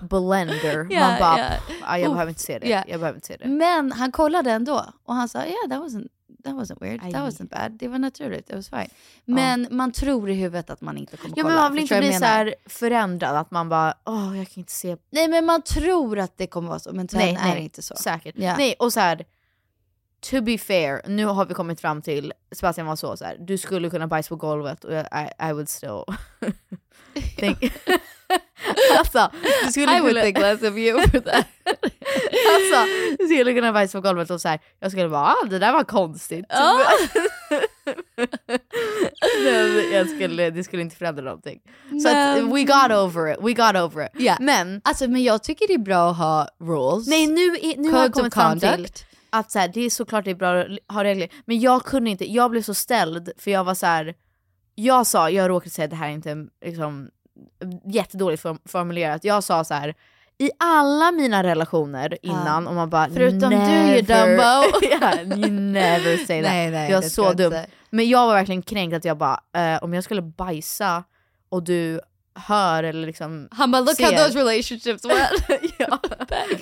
[SPEAKER 3] blender.
[SPEAKER 6] Ja,
[SPEAKER 3] Man bara,
[SPEAKER 6] ja.
[SPEAKER 3] "Pff, ah, jag
[SPEAKER 6] Uff,
[SPEAKER 3] behöver inte se det.
[SPEAKER 6] ja.
[SPEAKER 3] Jag behöver inte se det.
[SPEAKER 6] Men han kollade ändå och han sa, yeah that wasn't, that wasn't weird,
[SPEAKER 3] Aj.
[SPEAKER 6] that wasn't bad, det var naturligt, it was fine. Men man tror i huvudet att man inte kommer
[SPEAKER 3] Ja
[SPEAKER 6] kolla.
[SPEAKER 3] men man vill
[SPEAKER 6] Förstår
[SPEAKER 3] inte
[SPEAKER 6] vad
[SPEAKER 3] bli
[SPEAKER 6] jag
[SPEAKER 3] så
[SPEAKER 6] menar?
[SPEAKER 3] här förändrad att man bara åh jag kan inte se.
[SPEAKER 6] Nej men man tror att det kommer vara så, men sen
[SPEAKER 3] Nej,
[SPEAKER 6] är
[SPEAKER 3] nej.
[SPEAKER 6] det inte så.
[SPEAKER 3] Säkert.
[SPEAKER 6] Ja.
[SPEAKER 3] Nej och så här. To be fair, nu har vi kommit fram till, Sebastian var så, så här, du skulle kunna bajsa på golvet och jag, I, I would still... think... alltså, du skulle
[SPEAKER 6] I would
[SPEAKER 3] kunna...
[SPEAKER 6] think less of you for that.
[SPEAKER 3] Alltså, jag skulle kunna bajsa på golvet och så här, jag skulle bara ah, det där var konstigt.
[SPEAKER 6] Ja.
[SPEAKER 3] Men jag skulle, det skulle inte förändra någonting. Så att,
[SPEAKER 6] Men-
[SPEAKER 3] we got over it, we got over it.
[SPEAKER 6] Ja.
[SPEAKER 3] Men,
[SPEAKER 6] Alltså men jag tycker det är bra att ha rules.
[SPEAKER 3] nej nu, är- nu har
[SPEAKER 6] Codes
[SPEAKER 3] jag kommit
[SPEAKER 6] of
[SPEAKER 3] fram till
[SPEAKER 6] conduct.
[SPEAKER 3] att så här, det är såklart det är bra att ha regler, men jag kunde inte, jag blev så ställd för jag var så här. jag sa, jag råkade säga att det här är inte en, liksom, jättedåligt form- formulerat, jag sa så här. i alla mina relationer innan, och man bara
[SPEAKER 6] Förutom du,
[SPEAKER 3] never,
[SPEAKER 6] you dumbo.
[SPEAKER 3] yeah, you never say that.
[SPEAKER 6] Nej, nej,
[SPEAKER 3] det var
[SPEAKER 6] det ska
[SPEAKER 3] så
[SPEAKER 6] jag inte
[SPEAKER 3] dumt.
[SPEAKER 6] säga.
[SPEAKER 3] Men jag var verkligen kränkt att jag bara, eh, om jag skulle bajsa och du hör eller liksom
[SPEAKER 6] Han bara look how
[SPEAKER 3] ser-
[SPEAKER 6] those relationships went.
[SPEAKER 3] ja.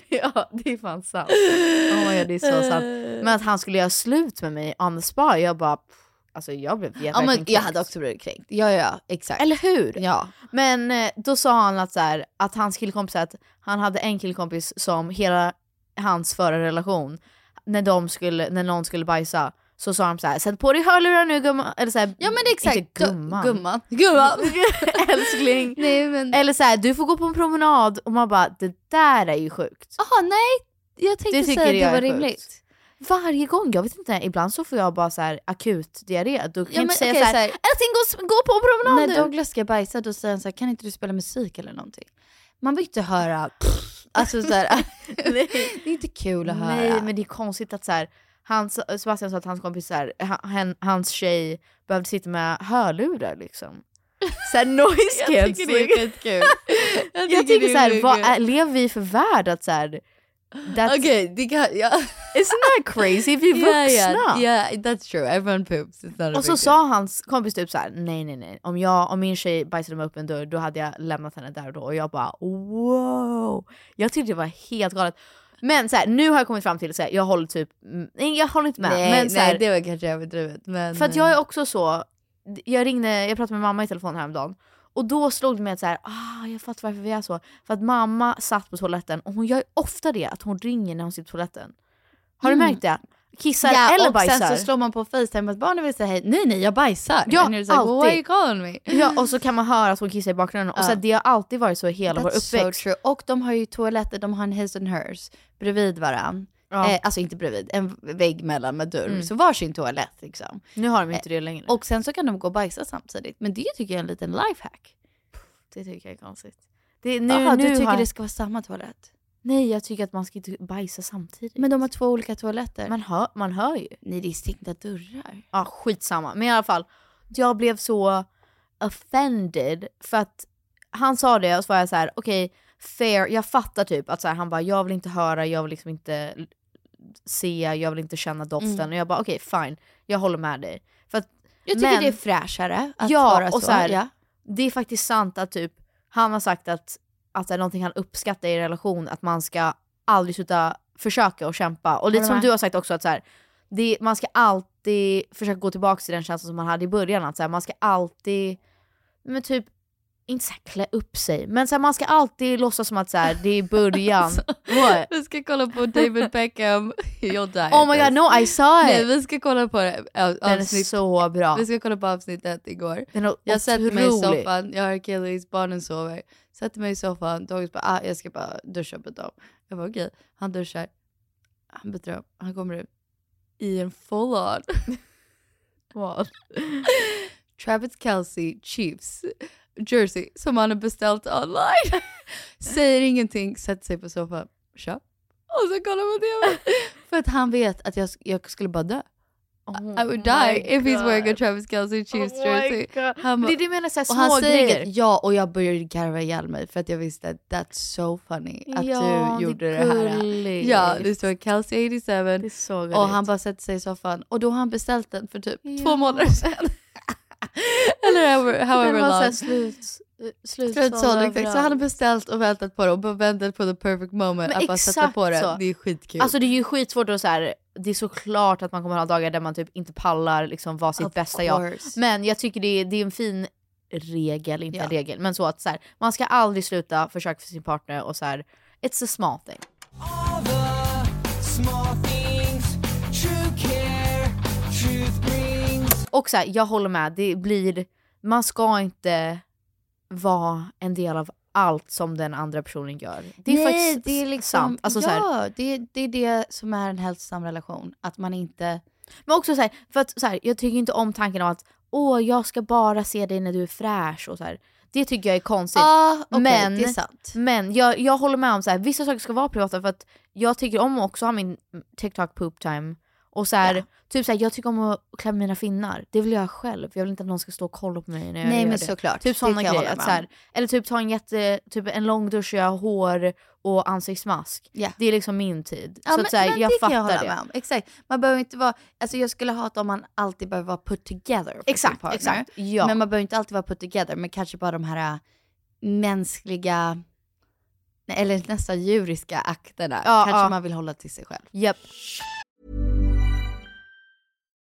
[SPEAKER 3] ja, det är fan sant. Oh my God, det är så sant. Men att han skulle göra slut med mig on the spot, jag bara... pff, Alltså jag blev
[SPEAKER 6] ja,
[SPEAKER 3] verkligen
[SPEAKER 6] men jag
[SPEAKER 3] kränkt.
[SPEAKER 6] hade också blivit kränkt. Ja ja, exakt.
[SPEAKER 3] Eller hur?
[SPEAKER 6] Ja.
[SPEAKER 3] Men eh, då sa han att, så här, att hans killkompis, att han hade en killkompis som hela hans förra relation, när, de skulle, när någon skulle bajsa, så sa han så här, sätt på dig hörlurar nu gumman. Eller så här,
[SPEAKER 6] Ja men det är exakt.
[SPEAKER 3] Inte gumman.
[SPEAKER 6] Gumman. gumman.
[SPEAKER 3] Älskling.
[SPEAKER 6] Nej men.
[SPEAKER 3] Eller så här, du får gå på en promenad. Och man bara, det där är ju sjukt.
[SPEAKER 6] Jaha nej. Jag tänkte
[SPEAKER 3] Det tycker
[SPEAKER 6] säga att
[SPEAKER 3] jag
[SPEAKER 6] det var
[SPEAKER 3] är sjukt.
[SPEAKER 6] rimligt.
[SPEAKER 3] Varje gång, jag vet inte, ibland så får jag bara så här akut
[SPEAKER 6] alltså,
[SPEAKER 3] diarré. Då kan
[SPEAKER 6] Ja,
[SPEAKER 3] jag
[SPEAKER 6] men
[SPEAKER 3] inte säga
[SPEAKER 6] okej,
[SPEAKER 3] så
[SPEAKER 6] så
[SPEAKER 3] här,
[SPEAKER 6] här-
[SPEAKER 3] älskling gå, s- gå på en promenad
[SPEAKER 6] När
[SPEAKER 3] nu.
[SPEAKER 6] Douglas ska bajsa då säger han så här, kan inte du spela musik eller någonting? Man vill inte höra pff. Alltså så här,
[SPEAKER 3] Nej.
[SPEAKER 6] det är inte kul att höra.
[SPEAKER 3] Nej men det är konstigt att så här, hans, Sebastian sa att hans kompis, så här, han, hans tjej behövde sitta med hörlurar liksom. Såhär noise
[SPEAKER 6] jag tycker det är
[SPEAKER 3] cancelling.
[SPEAKER 6] skitkul.
[SPEAKER 3] Jag
[SPEAKER 6] tycker
[SPEAKER 3] tycker,
[SPEAKER 6] det är
[SPEAKER 3] såhär,
[SPEAKER 6] sjukt
[SPEAKER 3] vad
[SPEAKER 6] kul.
[SPEAKER 3] är, lever vi för värld att såhär, that's,
[SPEAKER 6] Okej, det kan... Ja.
[SPEAKER 3] isn't that crazy? Vi är
[SPEAKER 6] Yeah, yeah,
[SPEAKER 3] vuxna.
[SPEAKER 6] yeah, that's true. Everyone poops. It's not a
[SPEAKER 3] Och så
[SPEAKER 6] big
[SPEAKER 3] sa hans kompis typ så här: nej nej nej, om, jag, om min tjej bajsade mig upp en dörr då hade jag lämnat henne där och då. Och jag bara wow. Jag tyckte det var helt galet. Men så här, nu har jag kommit fram till, så här, jag håller typ, mm, nej jag håller inte
[SPEAKER 6] deal.
[SPEAKER 3] med.
[SPEAKER 6] Nej,
[SPEAKER 3] men så här,
[SPEAKER 6] nej, det var kanske överdrivet. Men... eh.
[SPEAKER 3] för att jag är också så, jag ringde, jag pratade med mamma i telefon häromdagen och då slog det mig att så här, ah, jag fattar varför vi är så. För att mamma satt på toaletten och hon gör ju ofta det, att hon ringer när hon sitter på toaletten. Har du märkt det? Kissar
[SPEAKER 6] Mm. ja,
[SPEAKER 3] eller
[SPEAKER 6] och
[SPEAKER 3] bajsar.
[SPEAKER 6] sen så slår man på Facetime att barnen vill säga hej, nej nej jag bajsar.
[SPEAKER 3] Ja,
[SPEAKER 6] And you're like, Why
[SPEAKER 3] alltid.
[SPEAKER 6] are you calling me?
[SPEAKER 3] Ja, och så kan man höra att hon kissar i bakgrunden. Och så här, det har alltid varit så i hela vår
[SPEAKER 6] That's so
[SPEAKER 3] uppväxt.
[SPEAKER 6] true. Och de har ju toaletter, de har en his and hers bredvid varann.
[SPEAKER 3] Ja. Mm.
[SPEAKER 6] Eh, alltså inte bredvid, en vägg mellan med dörr. Så varsin toalett liksom.
[SPEAKER 3] nu har de inte det längre.
[SPEAKER 6] Och sen så kan de gå och bajsa samtidigt. Men det tycker jag är en liten lifehack.
[SPEAKER 3] det tycker jag är konstigt. Det, nu,
[SPEAKER 6] Jaha,
[SPEAKER 3] nu
[SPEAKER 6] du tycker
[SPEAKER 3] har...
[SPEAKER 6] det ska vara samma toalett?
[SPEAKER 3] Nej, jag tycker att man ska inte bajsa samtidigt.
[SPEAKER 6] Men de har två olika toaletter.
[SPEAKER 3] man, hör, man hör ju.
[SPEAKER 6] Nej, det är stängda dörrar.
[SPEAKER 3] Ja, skitsamma. Men i alla fall, jag blev så offended för att han sa det och så var jag så här: okej, fair, jag fattar typ att så här, han bara, jag vill inte höra, jag vill liksom inte l- se, jag vill inte känna doften. Och jag bara, okej fine, jag håller med dig. För att,
[SPEAKER 6] Mm. Jag tycker
[SPEAKER 3] men-
[SPEAKER 6] det är fräschare att
[SPEAKER 3] ja,
[SPEAKER 6] vara
[SPEAKER 3] och
[SPEAKER 6] så.
[SPEAKER 3] Så här,
[SPEAKER 6] ja.
[SPEAKER 3] Det är faktiskt sant att typ, han har sagt att, att det är någonting han uppskattar i relation, att man ska aldrig sluta försöka och kämpa. Och lite
[SPEAKER 6] Håller
[SPEAKER 3] som
[SPEAKER 6] med.
[SPEAKER 3] du har sagt också, att så här, det, man ska alltid försöka gå tillbaka till den känslan som man hade i början. Att så här, man ska alltid men typ, inte såhär klä upp sig, men så här, man ska alltid låtsas som att så här, det är början. What?
[SPEAKER 4] Vi ska kolla på David Beckham, You'll die.
[SPEAKER 3] Oh my god, no I saw it!
[SPEAKER 4] Nej, vi ska kolla på det. av-
[SPEAKER 3] Den är
[SPEAKER 4] avsnitt-
[SPEAKER 3] så bra.
[SPEAKER 4] Vi ska kolla på avsnitt ett igår.
[SPEAKER 3] Den är
[SPEAKER 4] Jag sätter mig i
[SPEAKER 3] otrolig.
[SPEAKER 4] soffan, jag har Achilles, barnen sover. Sätter mig i soffan, Dogge bara ah, jag ska bara duscha på dem. Jag bara okej, han duschar. Han byter om, han kommer ut i en full on.
[SPEAKER 3] Vad?
[SPEAKER 4] Travis Kelce Chiefs jersey som han har beställt online. Säger ingenting, sätter sig på soffan, kör. Och så kollar på TV. För att han vet att jag, jag skulle bara dö. I would die
[SPEAKER 3] Oh my
[SPEAKER 4] if he's wearing a
[SPEAKER 3] God.
[SPEAKER 4] Travis Kelce Chiefs
[SPEAKER 3] Oh my
[SPEAKER 4] jersey.
[SPEAKER 3] God.
[SPEAKER 4] Han bara-
[SPEAKER 3] Det är det jag menar, så här
[SPEAKER 4] och han
[SPEAKER 3] små
[SPEAKER 4] säger
[SPEAKER 3] grejer.
[SPEAKER 4] Ja, och jag började garva ihjäl mig för att jag visste att that's so funny att
[SPEAKER 3] Ja, det
[SPEAKER 4] du
[SPEAKER 3] är
[SPEAKER 4] gjorde det, här.
[SPEAKER 3] gulligt.
[SPEAKER 4] Ja, det står Kelsey 87
[SPEAKER 3] Det är så gulligt.
[SPEAKER 4] och han bara sätter sig i soffan och då har han beställt den för typ två månader sedan. Eller however, however
[SPEAKER 3] den var såhär
[SPEAKER 4] long.
[SPEAKER 3] slut, slutsåld
[SPEAKER 4] Slutsåld, exakt. Så
[SPEAKER 3] överallt.
[SPEAKER 4] han har beställt och väntat på det och bara väntat på the perfect moment
[SPEAKER 3] Men
[SPEAKER 4] att bara sätta
[SPEAKER 3] exakt
[SPEAKER 4] på det.
[SPEAKER 3] så.
[SPEAKER 4] Det är skitkul.
[SPEAKER 3] Alltså det är ju skitsvårt att så här, det är såklart att man kommer ha dagar där man typ inte pallar liksom vara sitt
[SPEAKER 4] Of
[SPEAKER 3] bästa jag.
[SPEAKER 4] course.
[SPEAKER 3] Men jag tycker det är, det är en fin regel, inte
[SPEAKER 4] Ja.
[SPEAKER 3] en regel, men så att så här, man ska aldrig sluta försöka för sin partner och så här, it's a small thing. Och så här, jag håller med, det blir, man ska inte vara en del av allt som den andra personen gör. Det är faktiskt
[SPEAKER 4] det är liksom,
[SPEAKER 3] sant. Alltså,
[SPEAKER 4] ja,
[SPEAKER 3] så här,
[SPEAKER 4] det, det är det som är en hälsosam relation. Att man inte...
[SPEAKER 3] Men också så här, för att så här, jag tycker inte om tanken om att åh, jag ska bara se dig när du är fräsch och så här. Det tycker jag är konstigt.
[SPEAKER 4] Ah, okej,
[SPEAKER 3] men
[SPEAKER 4] det är sant.
[SPEAKER 3] men jag, jag håller med om så här, vissa saker ska vara privata för att jag tycker om att också ha min TikTok poop time. Och så här, typ så här, jag tycker om att klä mina finnar. Det vill jag själv. Jag vill inte att någon ska stå och kolla på mig när jag
[SPEAKER 4] Nej,
[SPEAKER 3] gör
[SPEAKER 4] men
[SPEAKER 3] det.
[SPEAKER 4] såklart. Det
[SPEAKER 3] Typ sådana
[SPEAKER 4] kan jag
[SPEAKER 3] grejer.
[SPEAKER 4] hålla
[SPEAKER 3] Att
[SPEAKER 4] med
[SPEAKER 3] så här, eller typ ta en, jätte, typ en lång dusch och göra hår och ansiktsmask.
[SPEAKER 4] Ja.
[SPEAKER 3] Det är liksom min tid.
[SPEAKER 4] Ja,
[SPEAKER 3] så
[SPEAKER 4] men,
[SPEAKER 3] att, så här,
[SPEAKER 4] men
[SPEAKER 3] jag
[SPEAKER 4] det
[SPEAKER 3] fattar
[SPEAKER 4] kan jag hålla
[SPEAKER 3] det.
[SPEAKER 4] med om. Exakt. Man behöver inte vara, alltså jag skulle hata om man alltid behöver vara put together. för sin
[SPEAKER 3] Exakt,
[SPEAKER 4] partner.
[SPEAKER 3] exakt, ja.
[SPEAKER 4] Men man behöver inte alltid vara put together, men kanske bara de här äh, mänskliga, nej, eller nästan djuriska akterna.
[SPEAKER 3] Ja,
[SPEAKER 4] kanske
[SPEAKER 3] ja.
[SPEAKER 4] man vill hålla till sig själv.
[SPEAKER 3] Japp.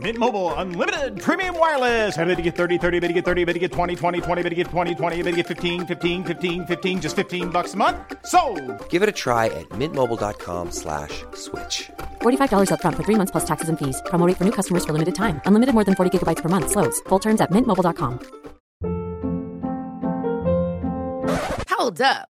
[SPEAKER 7] Mint Mobile unlimited premium wireless. Ready to get 30, 30, bet you get 30, bet you get 20, 20, 20, bet you get 20, 20, bet you get 15, 15, 15, 15 just 15 bucks a month. So,
[SPEAKER 8] Give it a try at mintmobile.com slash switch.
[SPEAKER 9] $45 upfront for three months plus taxes and fees. Promo rate for new customers for limited time. Unlimited more than 40 gigabytes per month. Slows. Full terms at mintmobile.com.
[SPEAKER 10] Hold up.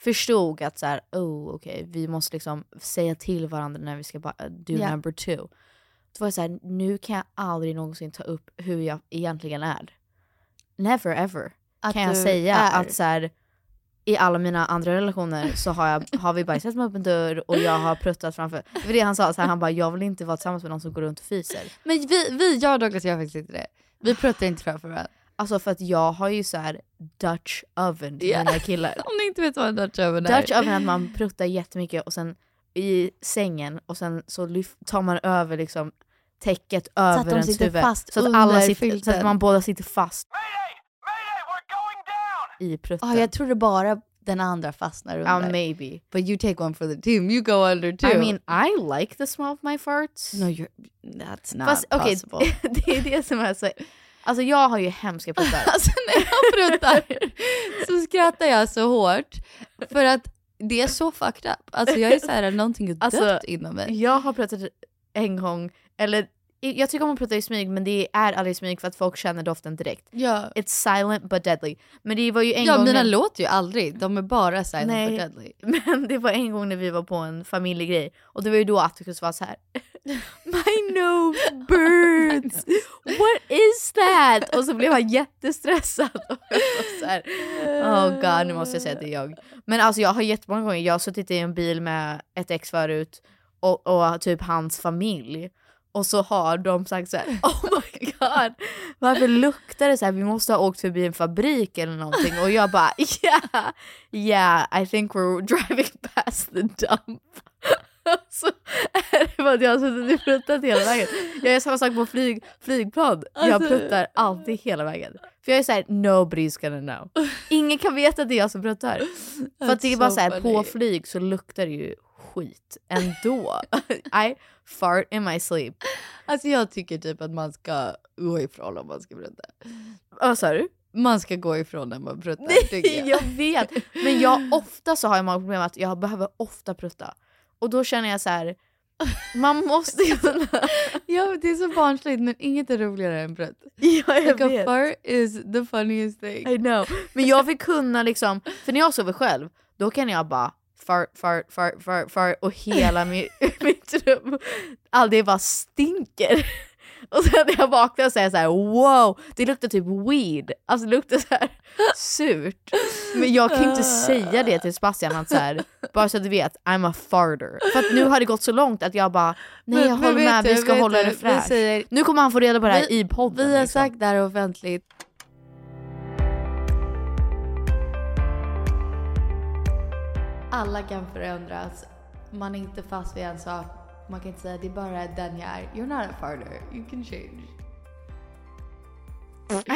[SPEAKER 3] förstod att så här, oh okej, vi måste liksom säga till varandra när vi ska ba- do
[SPEAKER 6] Ja.
[SPEAKER 3] number two. Då var jag så här, nu kan jag aldrig någonsin ta upp hur jag egentligen är. Never ever
[SPEAKER 6] Att
[SPEAKER 3] kan jag
[SPEAKER 6] du
[SPEAKER 3] säga
[SPEAKER 6] är.
[SPEAKER 3] att så här, i alla mina andra relationer så har, jag, har vi bajsat med öppen dörr och jag har pruttat framför. Det var det han sa, så här, han bara jag vill inte vara tillsammans med någon som går runt och fiser.
[SPEAKER 4] Men vi, vi jag och Douglas gör faktiskt inte det. Vi pruttar inte framför varandra.
[SPEAKER 3] Alltså för att jag har ju så här Dutch oven till
[SPEAKER 4] Ja.
[SPEAKER 3] mina killar.
[SPEAKER 4] Om ni inte vet vad en Dutch oven är.
[SPEAKER 3] Dutch oven är att man pruttar jättemycket och sen i sängen och sen så lyf- tar man över liksom täcket över
[SPEAKER 6] de
[SPEAKER 3] ens
[SPEAKER 6] sitter
[SPEAKER 3] huvud.
[SPEAKER 6] fast
[SPEAKER 3] så, att alla
[SPEAKER 6] under
[SPEAKER 3] sitter, så att
[SPEAKER 6] filten.
[SPEAKER 3] man båda sitter fast i prutten.
[SPEAKER 6] Ja, Ah, jag trodde bara den andra fastnar under.
[SPEAKER 3] Ja, maybe.
[SPEAKER 6] But you take one for the team, you go under too.
[SPEAKER 3] I mean I like the smell of my farts.
[SPEAKER 6] no, you're, that's not
[SPEAKER 3] Fast okej,
[SPEAKER 6] possible.
[SPEAKER 3] det är det som är så... Alltså jag har ju hemska pruttar.
[SPEAKER 4] Alltså, pruttar så skrattar jag så hårt. För att det är så fucked up. Alltså jag är så här, någonting är dött
[SPEAKER 3] Alltså,
[SPEAKER 4] inom mig.
[SPEAKER 3] Jag har pruttat en gång, eller i- jag tycker om att prutta i smyg men det är aldrig i smyg för att folk känner doften direkt.
[SPEAKER 4] Ja.
[SPEAKER 3] It's silent but deadly. Men det var ju en
[SPEAKER 4] ja,
[SPEAKER 3] gång...
[SPEAKER 4] mina
[SPEAKER 3] när-
[SPEAKER 4] låter ju aldrig. De är bara silent
[SPEAKER 3] Nej,
[SPEAKER 4] but deadly.
[SPEAKER 3] Men det var en gång när vi var på en familjegrej och det var ju då Atticus var så här. My nose burns! What is that? Och så blev han jättestressad. Och jag var så här, oh god, nu måste jag säga att det är jag. Men alltså jag har jättemånga gånger, jag har suttit i en bil med ett ex förut och, och typ hans familj. Och så har de sagt så här, oh my god, varför luktar det så här? Vi måste ha åkt förbi en fabrik eller någonting. Och jag bara, yeah, yeah, I think we're driving past the dump. så är det bara att jag har suttit och pruttat hela vägen. Jag gör samma sak på flyg, flygplan. jag
[SPEAKER 4] Alltså-
[SPEAKER 3] pruttar alltid hela vägen. För jag är såhär, nobody's gonna know. Ingen kan veta att det är jag som pruttar. För att det är
[SPEAKER 4] That's
[SPEAKER 3] bara
[SPEAKER 4] so
[SPEAKER 3] så här, på
[SPEAKER 4] funny.
[SPEAKER 3] flyg så luktar det ju skit ändå. I fart in my sleep.
[SPEAKER 4] Alltså jag tycker typ att man ska gå ifrån om man ska prutta.
[SPEAKER 3] Vad sa du?
[SPEAKER 4] Man ska gå ifrån när man pruttar tycker jag.
[SPEAKER 3] jag vet. Men jag ofta så har jag många problem att jag behöver ofta prutta. Och då känner jag så här, man måste kunna...
[SPEAKER 4] ja, men det är så barnsligt men inget är roligare än prutt.
[SPEAKER 3] Ja, jag
[SPEAKER 4] like a
[SPEAKER 3] vet.
[SPEAKER 4] fart is the funniest thing.
[SPEAKER 3] I know. Men jag vill kunna liksom, för när jag sover själv, då kan jag bara fart, fart, fart, fart, fart och hela min, mitt rum, all det bara stinker. Och sen när jag vaknar så är jag så här: wow, det luktar typ weed. Alltså det luktar så här surt. Men jag kan ju inte
[SPEAKER 4] Ah.
[SPEAKER 3] säga det till Sebastian, att så här, bara så att du vet, I'm a farter. För att nu har det gått så långt att jag bara, nej
[SPEAKER 4] Men-
[SPEAKER 3] jag
[SPEAKER 4] men
[SPEAKER 3] håller
[SPEAKER 4] vet
[SPEAKER 3] med, vi
[SPEAKER 4] du,
[SPEAKER 3] ska
[SPEAKER 4] vet
[SPEAKER 3] hålla
[SPEAKER 4] du,
[SPEAKER 3] det
[SPEAKER 4] vi
[SPEAKER 3] fräscht.
[SPEAKER 4] säger-
[SPEAKER 3] nu kommer han få reda på det här
[SPEAKER 4] Vi-
[SPEAKER 3] i podden.
[SPEAKER 4] Vi har
[SPEAKER 3] liksom.
[SPEAKER 4] sagt det här offentligt. Alla kan förändras. Man är inte fast vid en sak. Man kan inte säga det är bara den jag är. You're not a farter. You can change.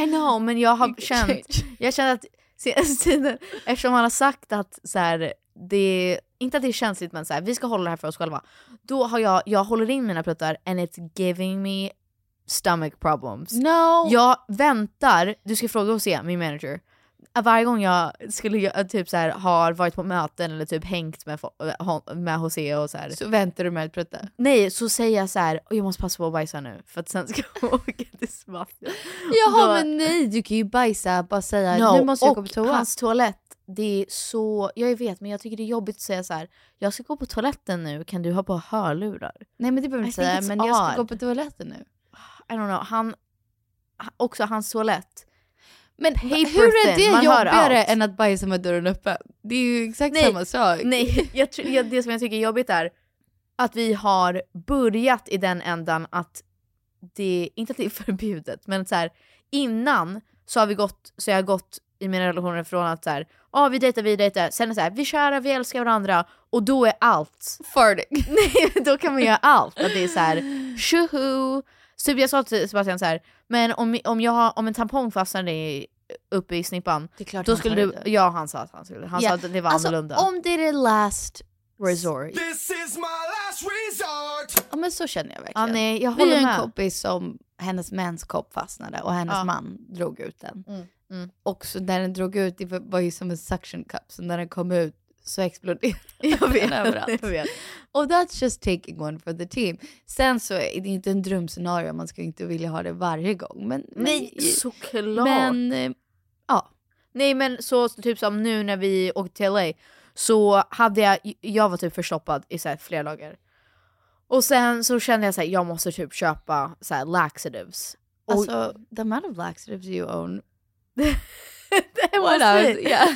[SPEAKER 3] I know, men jag har känt, jag känner att senaste tiden, eftersom han har sagt att så här, det, inte att det är känsligt men så här, vi ska hålla det här för oss själva. Då har jag, jag håller in mina pruttar and it's giving me stomach problems.
[SPEAKER 4] No!
[SPEAKER 3] Jag väntar, du ska fråga och se, min manager. Att Varje gång jag skulle gö- typ så här, har varit på möten eller typ hängt med, fo- med Jose och så här.
[SPEAKER 4] Så väntar du med att prutta?
[SPEAKER 3] Nej, så säger jag så här, "Oj, jag måste passa på att bajsa nu för att sen ska jag åka till Sebastian.
[SPEAKER 4] Jaha
[SPEAKER 3] Då-
[SPEAKER 4] men nej, du kan ju bajsa bara säga
[SPEAKER 3] No,
[SPEAKER 4] nu måste jag gå
[SPEAKER 3] och
[SPEAKER 4] på toa.
[SPEAKER 3] hans toalett, det är så... Jag vet, men jag tycker det är jobbigt att säga så här. jag ska gå på toaletten nu, kan du ha på hörlurar?
[SPEAKER 4] Nej men det behöver
[SPEAKER 3] I
[SPEAKER 4] du inte
[SPEAKER 3] think
[SPEAKER 4] säga,
[SPEAKER 3] it's
[SPEAKER 4] men jag ska
[SPEAKER 3] odd.
[SPEAKER 4] gå på toaletten nu.
[SPEAKER 3] I don't know, han... ha- Också hans toalett.
[SPEAKER 4] Men
[SPEAKER 3] Paper
[SPEAKER 4] hur är
[SPEAKER 3] thin,
[SPEAKER 4] det
[SPEAKER 3] man hör
[SPEAKER 4] jobbigare
[SPEAKER 3] allt.
[SPEAKER 4] än att bajsa med dörren öppen? Det är ju exakt samma sak.
[SPEAKER 3] Nej, jag, tror- jag, det som jag tycker är jobbigt är att vi har börjat i den ändan att det, inte att det är förbjudet, men så här, innan så har vi gått, så jag har gått i mina relationer från att så här, ah, vi dejtar, vi dejtar, sen är det så här, vi är kära, vi älskar varandra och då är allt.
[SPEAKER 4] Farting.
[SPEAKER 3] Nej, då kan man göra allt. Att det är så här, tjoho. Så typ jag sa till Sebastian så här, men om, om, jag, har- om en tampong fastnade i, uppe i snippan,
[SPEAKER 4] klart
[SPEAKER 3] då
[SPEAKER 4] han
[SPEAKER 3] skulle
[SPEAKER 4] tar
[SPEAKER 3] du, ja han sa att han skulle, han
[SPEAKER 4] Ja.
[SPEAKER 3] sa att det var
[SPEAKER 4] alltså,
[SPEAKER 3] annorlunda.
[SPEAKER 4] Om det är det last
[SPEAKER 3] Resort.
[SPEAKER 4] This is my last resort. Ja men så känner jag verkligen.
[SPEAKER 3] Ja, nej, jag
[SPEAKER 4] Vi
[SPEAKER 3] håller
[SPEAKER 4] har en
[SPEAKER 3] med.
[SPEAKER 4] kompis som hennes menskopp fastnade och hennes
[SPEAKER 3] Ja.
[SPEAKER 4] man drog ut den.
[SPEAKER 3] Mm, mm.
[SPEAKER 4] Och så när den drog ut, det var ju som en suction cup, så när den kom ut
[SPEAKER 3] så exploderar
[SPEAKER 6] Jag vet,
[SPEAKER 3] den överallt.
[SPEAKER 6] jag vet.
[SPEAKER 3] Och that's just taking one for the team. Sen så är det inte en drömscenario, man ska ju inte vilja ha det varje gång. Men,
[SPEAKER 1] Nej,
[SPEAKER 3] men,
[SPEAKER 1] såklart.
[SPEAKER 3] Men, eh, ja.
[SPEAKER 1] Nej men så typ som nu när vi åkte till LA så hade jag, jag var typ förstoppad i så här flera dagar. Och sen så kände jag så här, jag måste typ köpa så här laxatives. Och,
[SPEAKER 3] alltså the amount of laxatives you own.
[SPEAKER 1] was
[SPEAKER 3] I was-
[SPEAKER 1] it.
[SPEAKER 3] yeah.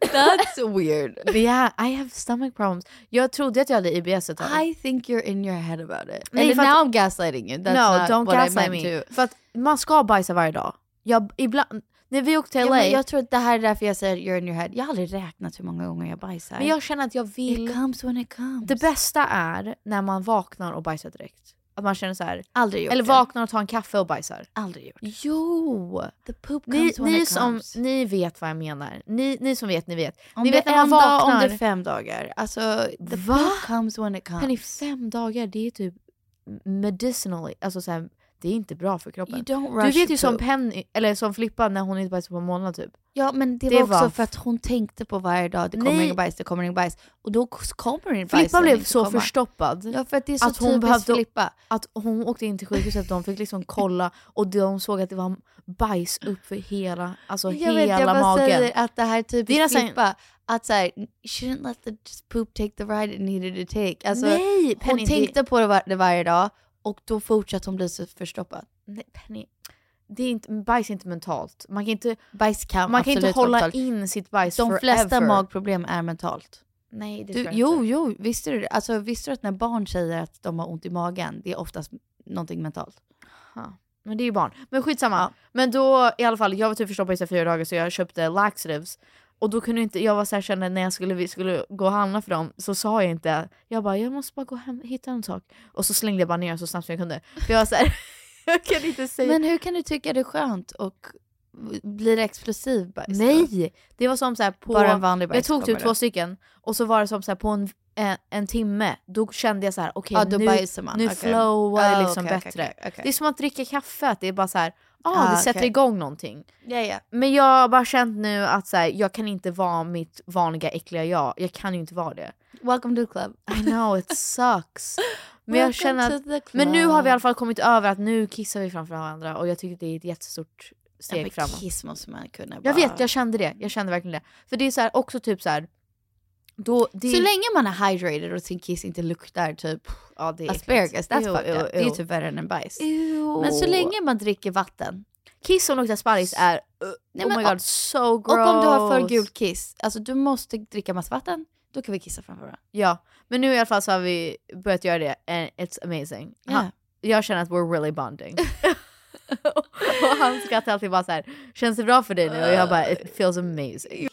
[SPEAKER 3] That's weird.
[SPEAKER 1] yeah, I have stomach problems. Jag trodde att jag hade IBS ett tag.
[SPEAKER 3] I think you're in your head about it.
[SPEAKER 1] Nej,
[SPEAKER 3] Nej,
[SPEAKER 1] för
[SPEAKER 3] And
[SPEAKER 1] att-
[SPEAKER 3] now I'm gaslighting you. That's not
[SPEAKER 1] no, don't
[SPEAKER 3] what
[SPEAKER 1] gaslight
[SPEAKER 3] I meant
[SPEAKER 1] me.
[SPEAKER 3] to.
[SPEAKER 1] För att man ska bajsa varje dag. Jag, ibland, när vi åkte till
[SPEAKER 3] Ja,
[SPEAKER 1] LA,
[SPEAKER 3] men jag tror att det här är därför jag säger you're in your head. Jag har aldrig räknat hur många gånger jag bajsar.
[SPEAKER 1] men jag känner att jag vill...
[SPEAKER 3] It comes when it comes.
[SPEAKER 1] Det bästa är när man vaknar och bajsar direkt. Att man känner så här.
[SPEAKER 3] Aldrig gjort
[SPEAKER 1] Eller
[SPEAKER 3] det.
[SPEAKER 1] vaknar och tar en kaffe och bajsar.
[SPEAKER 3] Aldrig gjort.
[SPEAKER 1] Jo!
[SPEAKER 3] The poop
[SPEAKER 1] Ni,
[SPEAKER 3] comes when
[SPEAKER 1] ni,
[SPEAKER 3] it
[SPEAKER 1] som,
[SPEAKER 3] comes.
[SPEAKER 1] ni vet vad jag menar. Ni, ni som vet, ni vet.
[SPEAKER 3] Om
[SPEAKER 1] ni
[SPEAKER 3] det
[SPEAKER 1] vet
[SPEAKER 3] är
[SPEAKER 1] när man
[SPEAKER 3] en dag, om
[SPEAKER 1] vaknar.
[SPEAKER 3] det är fem dagar. Alltså, the
[SPEAKER 1] Va?
[SPEAKER 3] poop comes when it comes.
[SPEAKER 1] Hörni, fem dagar, det är typ medicinally, alltså så här, det är inte bra för kroppen.
[SPEAKER 3] You don't
[SPEAKER 1] du
[SPEAKER 3] rush
[SPEAKER 1] vet ju
[SPEAKER 3] your
[SPEAKER 1] som
[SPEAKER 3] poop.
[SPEAKER 1] Penny, eller som Flippa när hon inte bajsade på en månad typ.
[SPEAKER 3] Ja men det,
[SPEAKER 1] Det
[SPEAKER 3] var också
[SPEAKER 1] var-
[SPEAKER 3] för att hon tänkte på varje dag, det kommer
[SPEAKER 1] Nej.
[SPEAKER 3] ingen bajs, det kommer ingen bajs. Och då k- kommer ingen bajs.
[SPEAKER 1] Flippa
[SPEAKER 3] som
[SPEAKER 1] blev
[SPEAKER 3] inte
[SPEAKER 1] så
[SPEAKER 3] kommer.
[SPEAKER 1] förstoppad
[SPEAKER 3] Ja för att det är så
[SPEAKER 1] att hon
[SPEAKER 3] typiskt
[SPEAKER 1] behövde
[SPEAKER 3] Flippa.
[SPEAKER 1] Att hon åkte in till sjukhuset, de fick liksom kolla och de såg att det var bajs upp för hela, alltså
[SPEAKER 3] jag
[SPEAKER 1] hela
[SPEAKER 3] vet, jag bara
[SPEAKER 1] magen.
[SPEAKER 3] säger att det här är
[SPEAKER 1] Det är
[SPEAKER 3] typiskt
[SPEAKER 1] nästan-
[SPEAKER 3] Flippa. Att såhär, she didn't let the just poop take the ride it needed to take. Alltså,
[SPEAKER 1] Nej, Penny,
[SPEAKER 3] hon
[SPEAKER 1] det-
[SPEAKER 3] tänkte på det, var det varje dag och då fortsatte hon bli så förstoppad.
[SPEAKER 1] Nej, Penny. Det är inte, bajs är inte mentalt. Man kan inte,
[SPEAKER 3] Bajs kan
[SPEAKER 1] man kan inte
[SPEAKER 3] absolut vara
[SPEAKER 1] hålla
[SPEAKER 3] mentalt.
[SPEAKER 1] in sitt bajs
[SPEAKER 3] De flesta
[SPEAKER 1] forever.
[SPEAKER 3] magproblem är mentalt.
[SPEAKER 1] Nej, det tror
[SPEAKER 3] Du,
[SPEAKER 1] jag inte.
[SPEAKER 3] jo, jo, visste du det? Alltså, visste du att när barn säger att de har ont i magen, det är oftast någonting mentalt?
[SPEAKER 1] Ja, Men det är ju barn. Men skitsamma. Men då i alla fall, jag var typ förstoppad i så här fyra dagar så jag köpte laxatives. Och då kunde jag inte, jag var såhär kände när jag skulle, vi skulle gå och handla för dem så sa jag inte, jag bara jag måste bara gå hem hitta en sak. Och så slängde jag bara ner så snabbt som jag kunde. För jag var såhär, jag kan inte säga.
[SPEAKER 3] Men hur kan du tycka det är skönt och blir det explosiv bajs?
[SPEAKER 1] Nej! Det var som såhär på,
[SPEAKER 3] Bara en vanlig
[SPEAKER 1] jag
[SPEAKER 3] bajs
[SPEAKER 1] tog
[SPEAKER 3] kommer
[SPEAKER 1] typ
[SPEAKER 3] det.
[SPEAKER 1] två stycken och så var det som såhär på en, en, en timme, då kände jag såhär okej
[SPEAKER 3] Ja, då bajsar
[SPEAKER 1] nu,
[SPEAKER 3] man.
[SPEAKER 1] nu
[SPEAKER 3] Okej.
[SPEAKER 1] flowar det
[SPEAKER 3] Ah,
[SPEAKER 1] liksom
[SPEAKER 3] okej, okej,
[SPEAKER 1] bättre.
[SPEAKER 3] okej, okej.
[SPEAKER 1] Det är som att dricka kaffe, att det är bara såhär, ah,
[SPEAKER 3] Ah,
[SPEAKER 1] det sätter
[SPEAKER 3] okej.
[SPEAKER 1] igång någonting.
[SPEAKER 3] Ja, ja.
[SPEAKER 1] Men jag har bara känt nu att så här, jag kan inte vara mitt vanliga äckliga jag. Jag kan ju inte vara det.
[SPEAKER 3] Welcome to the club.
[SPEAKER 1] I know it sucks. Men,
[SPEAKER 3] Welcome
[SPEAKER 1] jag känner
[SPEAKER 3] to the
[SPEAKER 1] att, men nu har vi i
[SPEAKER 3] club.
[SPEAKER 1] alla fall kommit över att nu kissar vi framför varandra och jag tycker det är ett jättestort
[SPEAKER 3] Ja, men
[SPEAKER 1] steg framåt.
[SPEAKER 3] Kiss måste man kunna bara...
[SPEAKER 1] Jag vet, jag kände det. Jag kände verkligen det. För det är så här, också typ så här, då, det,
[SPEAKER 3] Så länge man är hydrated och sin kiss inte luktar typ
[SPEAKER 1] ja, det är äckligt.
[SPEAKER 3] asparagus, that's
[SPEAKER 1] Ew,
[SPEAKER 3] fucked
[SPEAKER 1] ew,
[SPEAKER 3] up. Det är ju
[SPEAKER 1] ew.
[SPEAKER 3] typ värre än en bajs.
[SPEAKER 1] Ew.
[SPEAKER 3] Men så länge man dricker vatten.
[SPEAKER 1] Kiss som luktar sparris är
[SPEAKER 3] Nej,
[SPEAKER 1] oh
[SPEAKER 3] men-
[SPEAKER 1] my god so gross.
[SPEAKER 3] Och om du har för gult kiss, alltså du måste dricka massa vatten, då kan vi kissa framför varandra.
[SPEAKER 1] Ja, men nu i alla fall så har vi börjat göra det and it's amazing. Han,
[SPEAKER 3] Ja.
[SPEAKER 1] Jag känner att we're really bonding. och han skrattar alltid bara så här, känns det bra för dig nu? Och jag bara, it feels amazing.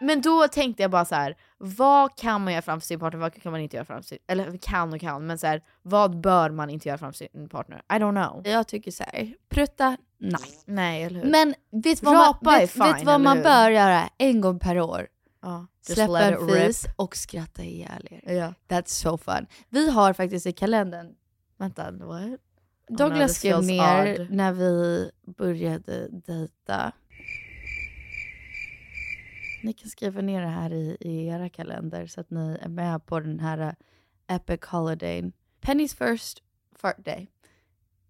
[SPEAKER 1] Men då tänkte jag bara så här, vad kan man göra framför sin partner, vad kan man inte göra framför sin, eller kan och kan, men så här, vad bör man inte göra framför sin partner? I don't know.
[SPEAKER 3] Jag tycker så här, prutta, nej.
[SPEAKER 1] Nej, eller hur?
[SPEAKER 3] Men vet du vad,
[SPEAKER 1] Rapa
[SPEAKER 3] man,
[SPEAKER 1] är
[SPEAKER 3] vet,
[SPEAKER 1] fine,
[SPEAKER 3] vet vad
[SPEAKER 1] eller
[SPEAKER 3] man
[SPEAKER 1] hur?
[SPEAKER 3] bör göra en gång per år?
[SPEAKER 1] Ja, just
[SPEAKER 3] Släppa
[SPEAKER 1] let
[SPEAKER 3] en
[SPEAKER 1] it rip.
[SPEAKER 3] fis och skratta ihjäl er.
[SPEAKER 1] Ja.
[SPEAKER 3] That's so fun. Vi har faktiskt i kalendern,
[SPEAKER 1] Vänta, what? Oh, no,
[SPEAKER 3] Douglas
[SPEAKER 1] this
[SPEAKER 3] skrev
[SPEAKER 1] feels
[SPEAKER 3] ner
[SPEAKER 1] odd.
[SPEAKER 3] när vi började dejta. Ni kan skriva ner det här i, i era kalender så att ni är med på den här eh, epic holidayn. Penny's first fart day.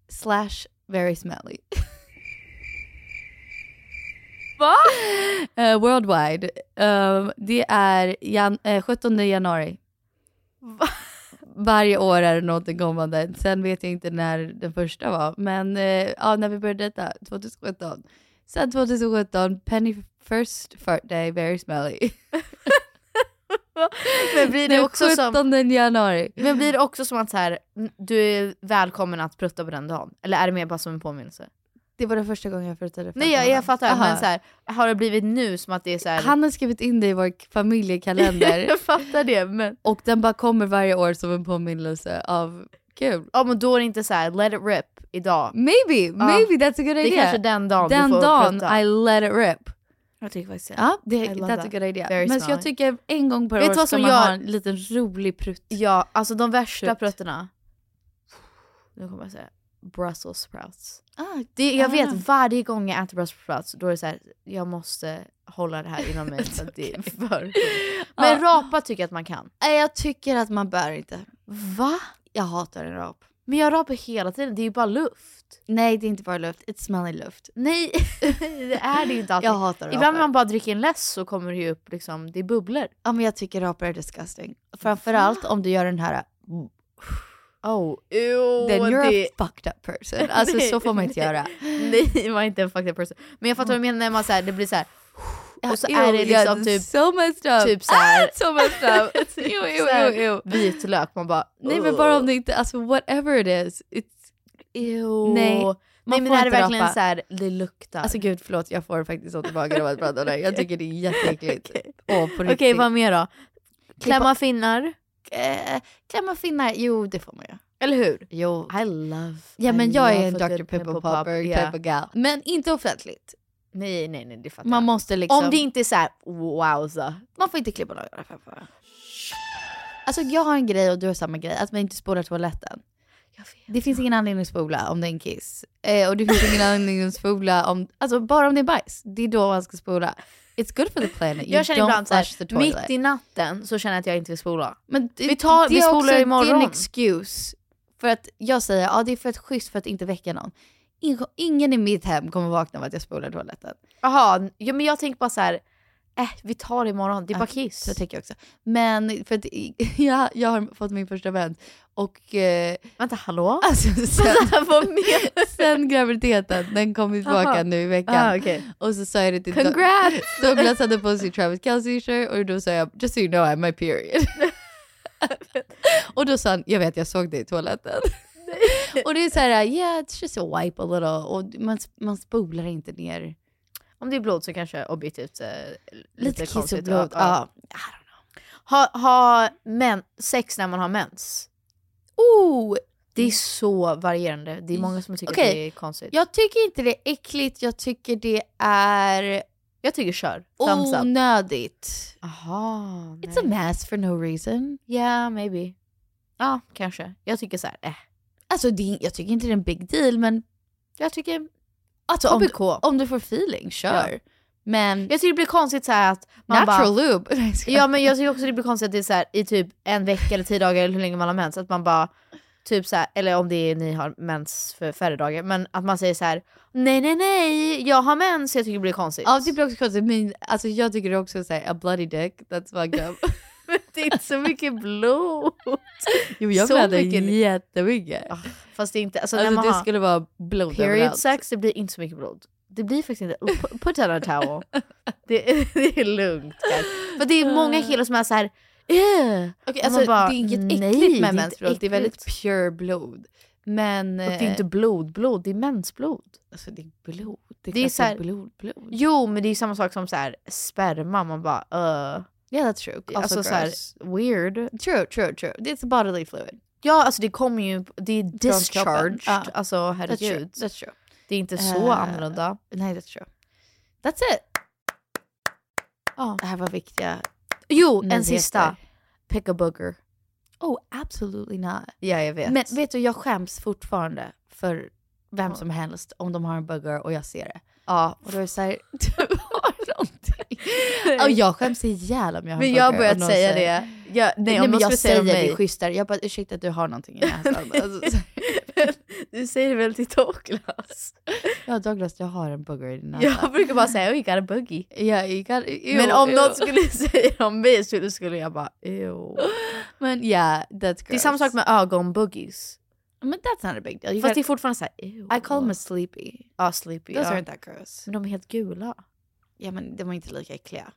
[SPEAKER 3] Slash very smelly.
[SPEAKER 6] Va?
[SPEAKER 3] Eh, worldwide. Eh, det är jan- eh, 17 januari. Varje år är det något kommande. Sen vet jag inte när den första var. Men eh, ja, när vi började detta, 2017. Sen 2017, Penny first fart day, very smelly.
[SPEAKER 1] Men blir det
[SPEAKER 3] Den
[SPEAKER 1] också som...
[SPEAKER 3] 17 januari.
[SPEAKER 1] Men blir det också som att så här, n- du är välkommen att prutta på den dagen? Eller är det mer bara som en påminnelse?
[SPEAKER 3] Det var den första gången jag fruttade
[SPEAKER 1] Nej jag, jag fattar,
[SPEAKER 3] Aha.
[SPEAKER 1] men så här, har det blivit nu som att det är så här...
[SPEAKER 3] Han har skrivit in det i vår familjekalender.
[SPEAKER 1] jag fattar det men...
[SPEAKER 3] och den bara kommer varje år som en påminnelse av kul.
[SPEAKER 1] Ja men då är det inte så här, let it rip idag.
[SPEAKER 3] Maybe, maybe that's a good
[SPEAKER 1] Det är
[SPEAKER 3] idea.
[SPEAKER 1] kanske den dagen
[SPEAKER 3] Den
[SPEAKER 1] du får
[SPEAKER 3] dagen
[SPEAKER 1] prutta.
[SPEAKER 3] I let it rip.
[SPEAKER 1] Jag tycker faktiskt det.
[SPEAKER 3] Ja, det,
[SPEAKER 1] I love
[SPEAKER 3] that's a
[SPEAKER 1] that.
[SPEAKER 3] good idea.
[SPEAKER 1] Very
[SPEAKER 3] Men så
[SPEAKER 1] smelly.
[SPEAKER 3] jag tycker en gång per
[SPEAKER 1] Vet
[SPEAKER 3] år
[SPEAKER 1] du vad
[SPEAKER 3] ska
[SPEAKER 1] som
[SPEAKER 3] man
[SPEAKER 1] jag-
[SPEAKER 3] ha en liten rolig prutt.
[SPEAKER 1] Ja, alltså de värsta
[SPEAKER 3] Shoot.
[SPEAKER 1] pruttarna. Nu kommer jag säga.
[SPEAKER 3] Brussels sprouts.
[SPEAKER 6] Ah,
[SPEAKER 3] Det, jag
[SPEAKER 6] ah.
[SPEAKER 3] vet varje gång jag äter Brussels sprouts då är det så här, jag måste hålla det här inom mig för att det är för Men rapa tycker jag att man kan.
[SPEAKER 6] Nej, jag tycker att man bör inte.
[SPEAKER 3] Va?
[SPEAKER 6] Jag hatar en rap.
[SPEAKER 3] Men jag rapar hela tiden, det är ju bara luft.
[SPEAKER 6] Nej, det är inte bara luft. It's smelly luft. Nej,
[SPEAKER 3] det är det ju inte alltid.
[SPEAKER 6] Jag hatar
[SPEAKER 3] Ibland
[SPEAKER 6] rapar.
[SPEAKER 3] när man bara dricker en läsk så kommer det ju upp liksom, det är bubblor.
[SPEAKER 6] Ja, men jag tycker rapar är disgusting. Framförallt om du gör den här...
[SPEAKER 3] Oh, ew,
[SPEAKER 6] Then you're
[SPEAKER 3] det-
[SPEAKER 6] a fucked up person. Alltså
[SPEAKER 3] Nej,
[SPEAKER 6] så får man inte
[SPEAKER 3] nej.
[SPEAKER 6] göra.
[SPEAKER 3] Nej, man är inte en fucked person. Men jag fattar vad du menar när man så här, det blir så här. Och så
[SPEAKER 6] Ew,
[SPEAKER 3] är det
[SPEAKER 6] yeah,
[SPEAKER 3] liksom
[SPEAKER 6] this
[SPEAKER 3] typ,
[SPEAKER 6] is so messed up.
[SPEAKER 3] typ så här, Typ
[SPEAKER 6] Ah, it's so messed up. Ew, ew,
[SPEAKER 3] så här
[SPEAKER 6] ew, ew.
[SPEAKER 3] vitlök. Man bara,
[SPEAKER 6] Nej, men bara om det inte... Alltså whatever it is. It's...
[SPEAKER 3] Ew.
[SPEAKER 6] Nej,
[SPEAKER 3] Nej,
[SPEAKER 6] man
[SPEAKER 3] men
[SPEAKER 6] får
[SPEAKER 3] är det
[SPEAKER 6] inte
[SPEAKER 3] verkligen
[SPEAKER 6] rapa.
[SPEAKER 3] så här, det luktar.
[SPEAKER 6] Alltså gud, förlåt. Jag får faktiskt så tillbaka av att prata om det här. Jag tycker det är jätteäckligt. Åh, på
[SPEAKER 3] Okej,
[SPEAKER 6] riktigt.
[SPEAKER 3] vad mer då? Klämma
[SPEAKER 6] Klippa-
[SPEAKER 3] finnar.
[SPEAKER 6] Eh, klämma finnar, jo det får man göra.
[SPEAKER 3] Eller hur?
[SPEAKER 6] Jo.
[SPEAKER 3] I love.
[SPEAKER 6] Ja men
[SPEAKER 3] I
[SPEAKER 6] jag
[SPEAKER 3] love
[SPEAKER 6] är en
[SPEAKER 3] a
[SPEAKER 6] Dr.
[SPEAKER 3] good
[SPEAKER 6] Pimple
[SPEAKER 3] pimple
[SPEAKER 6] Popper
[SPEAKER 3] popper, yeah.
[SPEAKER 6] type of gal. Men inte offentligt.
[SPEAKER 3] Nej, nej, nej, det fattar
[SPEAKER 6] Man
[SPEAKER 3] jag.
[SPEAKER 6] måste liksom...
[SPEAKER 3] Om det inte är så här, wowza.
[SPEAKER 6] Man får inte klippa några pappor. Alltså jag har en grej och du har samma grej, att man inte spolar toaletten. Det finns ingen anledning att spola om det är en kiss. Eh, och det finns ingen anledning att spola om, alltså bara om det är bajs. Det är då man ska spola. It's good for the planet. You
[SPEAKER 3] Jag känner
[SPEAKER 6] don't
[SPEAKER 3] ibland så här,
[SPEAKER 6] flush the toilet.
[SPEAKER 3] mitt i natten så känner jag att jag inte vill spola.
[SPEAKER 6] Men det,
[SPEAKER 3] Vi tar- vi
[SPEAKER 6] det är
[SPEAKER 3] spolar
[SPEAKER 6] också- det är
[SPEAKER 3] imorgon.
[SPEAKER 6] en excuse. För att jag säger, ja det är för att schysst för att inte väcka någon. Ing- Ingen i mitt hem kommer vakna av att jag spolar toaletten.
[SPEAKER 3] Jaha, ja, men jag tänker bara så här, eh, vi tar det imorgon, det är bara kiss.
[SPEAKER 6] Så tänker jag också. Men för att jag, jag har fått min första vän och... Eh,
[SPEAKER 3] Vänta, hallå?
[SPEAKER 6] Alltså, sen,
[SPEAKER 3] Vad mer?
[SPEAKER 6] sen graviditeten, den kom tillbaka
[SPEAKER 3] Aha.
[SPEAKER 6] nu i veckan.
[SPEAKER 3] Ah, okej.
[SPEAKER 6] Och så sa jag det till
[SPEAKER 3] Congrats!
[SPEAKER 6] Douglas hade på sig Travis Kelce-shirt och då sa jag “Just so you know I'm my period”. och då sa han “Jag vet, jag såg dig i toaletten”. och det är så här, yeah it's just a wipe a little. Och man, man spolar inte ner.
[SPEAKER 3] Om det är blod så kanske objektivt eh,
[SPEAKER 6] Lite kiss och
[SPEAKER 3] konstigt.
[SPEAKER 6] blod, ja.
[SPEAKER 3] Ha, ha men, sex när man har mens.
[SPEAKER 6] Oh,
[SPEAKER 3] Det är så varierande. Det är många som tycker
[SPEAKER 6] Okej.
[SPEAKER 3] att det är konstigt.
[SPEAKER 6] Jag tycker inte det är äckligt, jag tycker det är
[SPEAKER 3] jag tycker kör. Thumbs up.
[SPEAKER 6] onödigt.
[SPEAKER 3] Aha,
[SPEAKER 6] It's a mess for no reason.
[SPEAKER 3] Yeah, maybe. Ja, kanske. Jag tycker så här, eh.
[SPEAKER 6] Alltså det, är- jag tycker inte det är en big deal men
[SPEAKER 3] Jag tycker...
[SPEAKER 6] alltså, om,
[SPEAKER 3] KBK.
[SPEAKER 6] du, om du får feeling, kör.
[SPEAKER 3] Ja.
[SPEAKER 6] Men
[SPEAKER 3] Jag tycker det blir konstigt så här att man bara...
[SPEAKER 6] natural lube. Nej, jag skojar.
[SPEAKER 3] Ja men jag tycker också det blir konstigt att det är så här, i typ en vecka eller tio dagar eller hur länge man har mens att man bara typ så här, eller om det är ni har mens för färre dagar men att man säger så här: nej nej nej jag har mens jag tycker det blir konstigt.
[SPEAKER 6] Ja, det blir också konstigt. Men, alltså, jag tycker det är också såhär, a bloody dick, that's fucked up.
[SPEAKER 3] Men det är inte så mycket blod.
[SPEAKER 6] jo, jag
[SPEAKER 3] Så
[SPEAKER 6] blöder
[SPEAKER 3] mycket- Ah,
[SPEAKER 6] jättemycket.
[SPEAKER 3] Fast det är inte, alltså,
[SPEAKER 6] alltså,
[SPEAKER 3] när man
[SPEAKER 6] det
[SPEAKER 3] har
[SPEAKER 6] skulle vara blod
[SPEAKER 3] period
[SPEAKER 6] överallt.
[SPEAKER 3] sex det blir inte så mycket blod. Det blir faktiskt inte, P- put on a towel. Det är, det är lugnt guys. För det är många killar som är så här. "Ugh."
[SPEAKER 6] Okej,
[SPEAKER 3] Och man
[SPEAKER 6] alltså,
[SPEAKER 3] bara,
[SPEAKER 6] det är inget
[SPEAKER 3] "Nej,
[SPEAKER 6] äckligt
[SPEAKER 3] det är
[SPEAKER 6] med
[SPEAKER 3] inte
[SPEAKER 6] mensblod, det är väldigt
[SPEAKER 3] äckligt."
[SPEAKER 6] pure blod. Men...
[SPEAKER 3] Och det är inte
[SPEAKER 6] eh,
[SPEAKER 3] blodblod, det är mensblod.
[SPEAKER 6] alltså, det är blod. Det är,
[SPEAKER 3] Det är
[SPEAKER 6] klart
[SPEAKER 3] så här-
[SPEAKER 6] det är blod, blod.
[SPEAKER 3] Jo, men det är ju samma sak som så här, sperma. Man bara uh,
[SPEAKER 6] yeah, that's true. Also
[SPEAKER 3] Alltså så här,
[SPEAKER 6] gross.
[SPEAKER 3] weird.
[SPEAKER 6] True, true, true. It's bodily fluid.
[SPEAKER 3] Ja, alltså det kommer ju, det är discharged.
[SPEAKER 6] Ja.
[SPEAKER 3] Alltså
[SPEAKER 6] That's true.
[SPEAKER 3] herregud.
[SPEAKER 6] That's true.
[SPEAKER 3] Det är inte så
[SPEAKER 6] Eh,
[SPEAKER 3] annorlunda.
[SPEAKER 6] Nej, that's true. That's it. Ja, Det här var viktiga
[SPEAKER 3] Jo, en
[SPEAKER 6] nyheter.
[SPEAKER 3] sista. Pick a booger.
[SPEAKER 6] Oh, absolutely not.
[SPEAKER 3] Ja, jag vet.
[SPEAKER 6] Men vet du, jag skäms fortfarande för vem
[SPEAKER 3] Ja.
[SPEAKER 6] som helst om de har en bugger och jag ser det.
[SPEAKER 3] ja.
[SPEAKER 6] Och då är det såhär, du har någonting. Och jag skäms ihjäl om jag har
[SPEAKER 3] Men
[SPEAKER 6] en
[SPEAKER 3] jag har
[SPEAKER 6] bugger och
[SPEAKER 3] börjat
[SPEAKER 6] någon
[SPEAKER 3] säga
[SPEAKER 6] säger-
[SPEAKER 3] det. Jag, nej,
[SPEAKER 6] Nej,
[SPEAKER 3] om
[SPEAKER 6] men
[SPEAKER 3] någon
[SPEAKER 6] jag
[SPEAKER 3] skulle säga det
[SPEAKER 6] säger
[SPEAKER 3] om
[SPEAKER 6] det
[SPEAKER 3] mig.
[SPEAKER 6] är schysstare. Jag bara, ursäkta du har någonting i näsan. alltså, så här,
[SPEAKER 3] du säger det väl till Douglas?
[SPEAKER 6] ja Douglas, jag har en bugger i din näsa.
[SPEAKER 3] Jag brukar bara säga oh, you got a boogie.
[SPEAKER 6] Ja, you got, ew,
[SPEAKER 3] men om
[SPEAKER 6] ew.
[SPEAKER 3] någon skulle säga det om mig så skulle jag bara ew.
[SPEAKER 6] Men yeah, that's gross.
[SPEAKER 3] Det är samma sak med ögonboogies.
[SPEAKER 6] Men that's not a big deal. You
[SPEAKER 3] Fast
[SPEAKER 6] got-
[SPEAKER 3] det är fortfarande såhär ew.
[SPEAKER 6] I call them a sleepy.
[SPEAKER 3] Ja, sleepy.
[SPEAKER 6] Those
[SPEAKER 3] ja.
[SPEAKER 6] aren't that gross.
[SPEAKER 3] Men de är helt gula.
[SPEAKER 6] Ja men de var inte lika äckliga.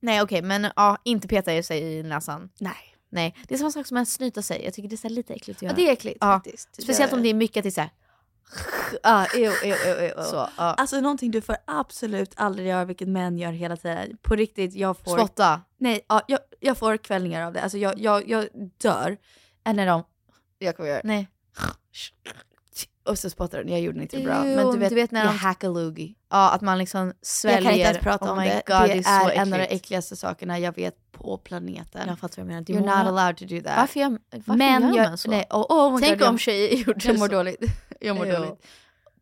[SPEAKER 3] Nej okej, men ja, inte peta sig i näsan.
[SPEAKER 6] Nej.
[SPEAKER 3] Nej, det är samma sak som att snyta sig. Jag tycker det är så här lite äckligt att
[SPEAKER 6] Ja,
[SPEAKER 3] göra.
[SPEAKER 6] det är äckligt
[SPEAKER 3] Ja.
[SPEAKER 1] Ah,
[SPEAKER 6] faktiskt.
[SPEAKER 3] Speciellt om det är mycket till såhär...
[SPEAKER 6] Ah, ew, ew, ew, ew.
[SPEAKER 3] Så, ja.
[SPEAKER 11] Alltså någonting du får absolut aldrig göra, vilket män gör hela tiden. På riktigt, jag får...
[SPEAKER 3] Spotta.
[SPEAKER 11] Nej, ja, jag, jag får kvällningar av det. Alltså jag, jag, jag dör.
[SPEAKER 6] Eller när de... Jag kommer göra...
[SPEAKER 3] Nej.
[SPEAKER 6] Och så spottar den. Jag gjorde den inte bra.
[SPEAKER 3] Ew,
[SPEAKER 6] men du vet,
[SPEAKER 3] när
[SPEAKER 6] jag
[SPEAKER 3] de-
[SPEAKER 6] hackaloogie.
[SPEAKER 3] Ja, att man liksom sväljer.
[SPEAKER 6] Jag kan inte ens prata
[SPEAKER 3] oh
[SPEAKER 6] om
[SPEAKER 3] my
[SPEAKER 6] det.
[SPEAKER 3] God,
[SPEAKER 6] det,
[SPEAKER 3] det är, så
[SPEAKER 6] är
[SPEAKER 3] äckligt.
[SPEAKER 6] en av de äckligaste sakerna jag vet på planeten.
[SPEAKER 3] Jag fattar vad jag menar. Det är
[SPEAKER 6] You're
[SPEAKER 3] många-
[SPEAKER 6] not allowed to do that.
[SPEAKER 3] Varför, gör- varför
[SPEAKER 6] men
[SPEAKER 3] gör
[SPEAKER 6] jag,
[SPEAKER 3] man så?
[SPEAKER 6] Nej, oh, oh my
[SPEAKER 3] Tänk
[SPEAKER 6] God,
[SPEAKER 3] om tjejer gjorde
[SPEAKER 6] jag, jag mår
[SPEAKER 3] så.
[SPEAKER 6] dåligt.
[SPEAKER 3] Jag mår
[SPEAKER 6] Jo.
[SPEAKER 3] dåligt.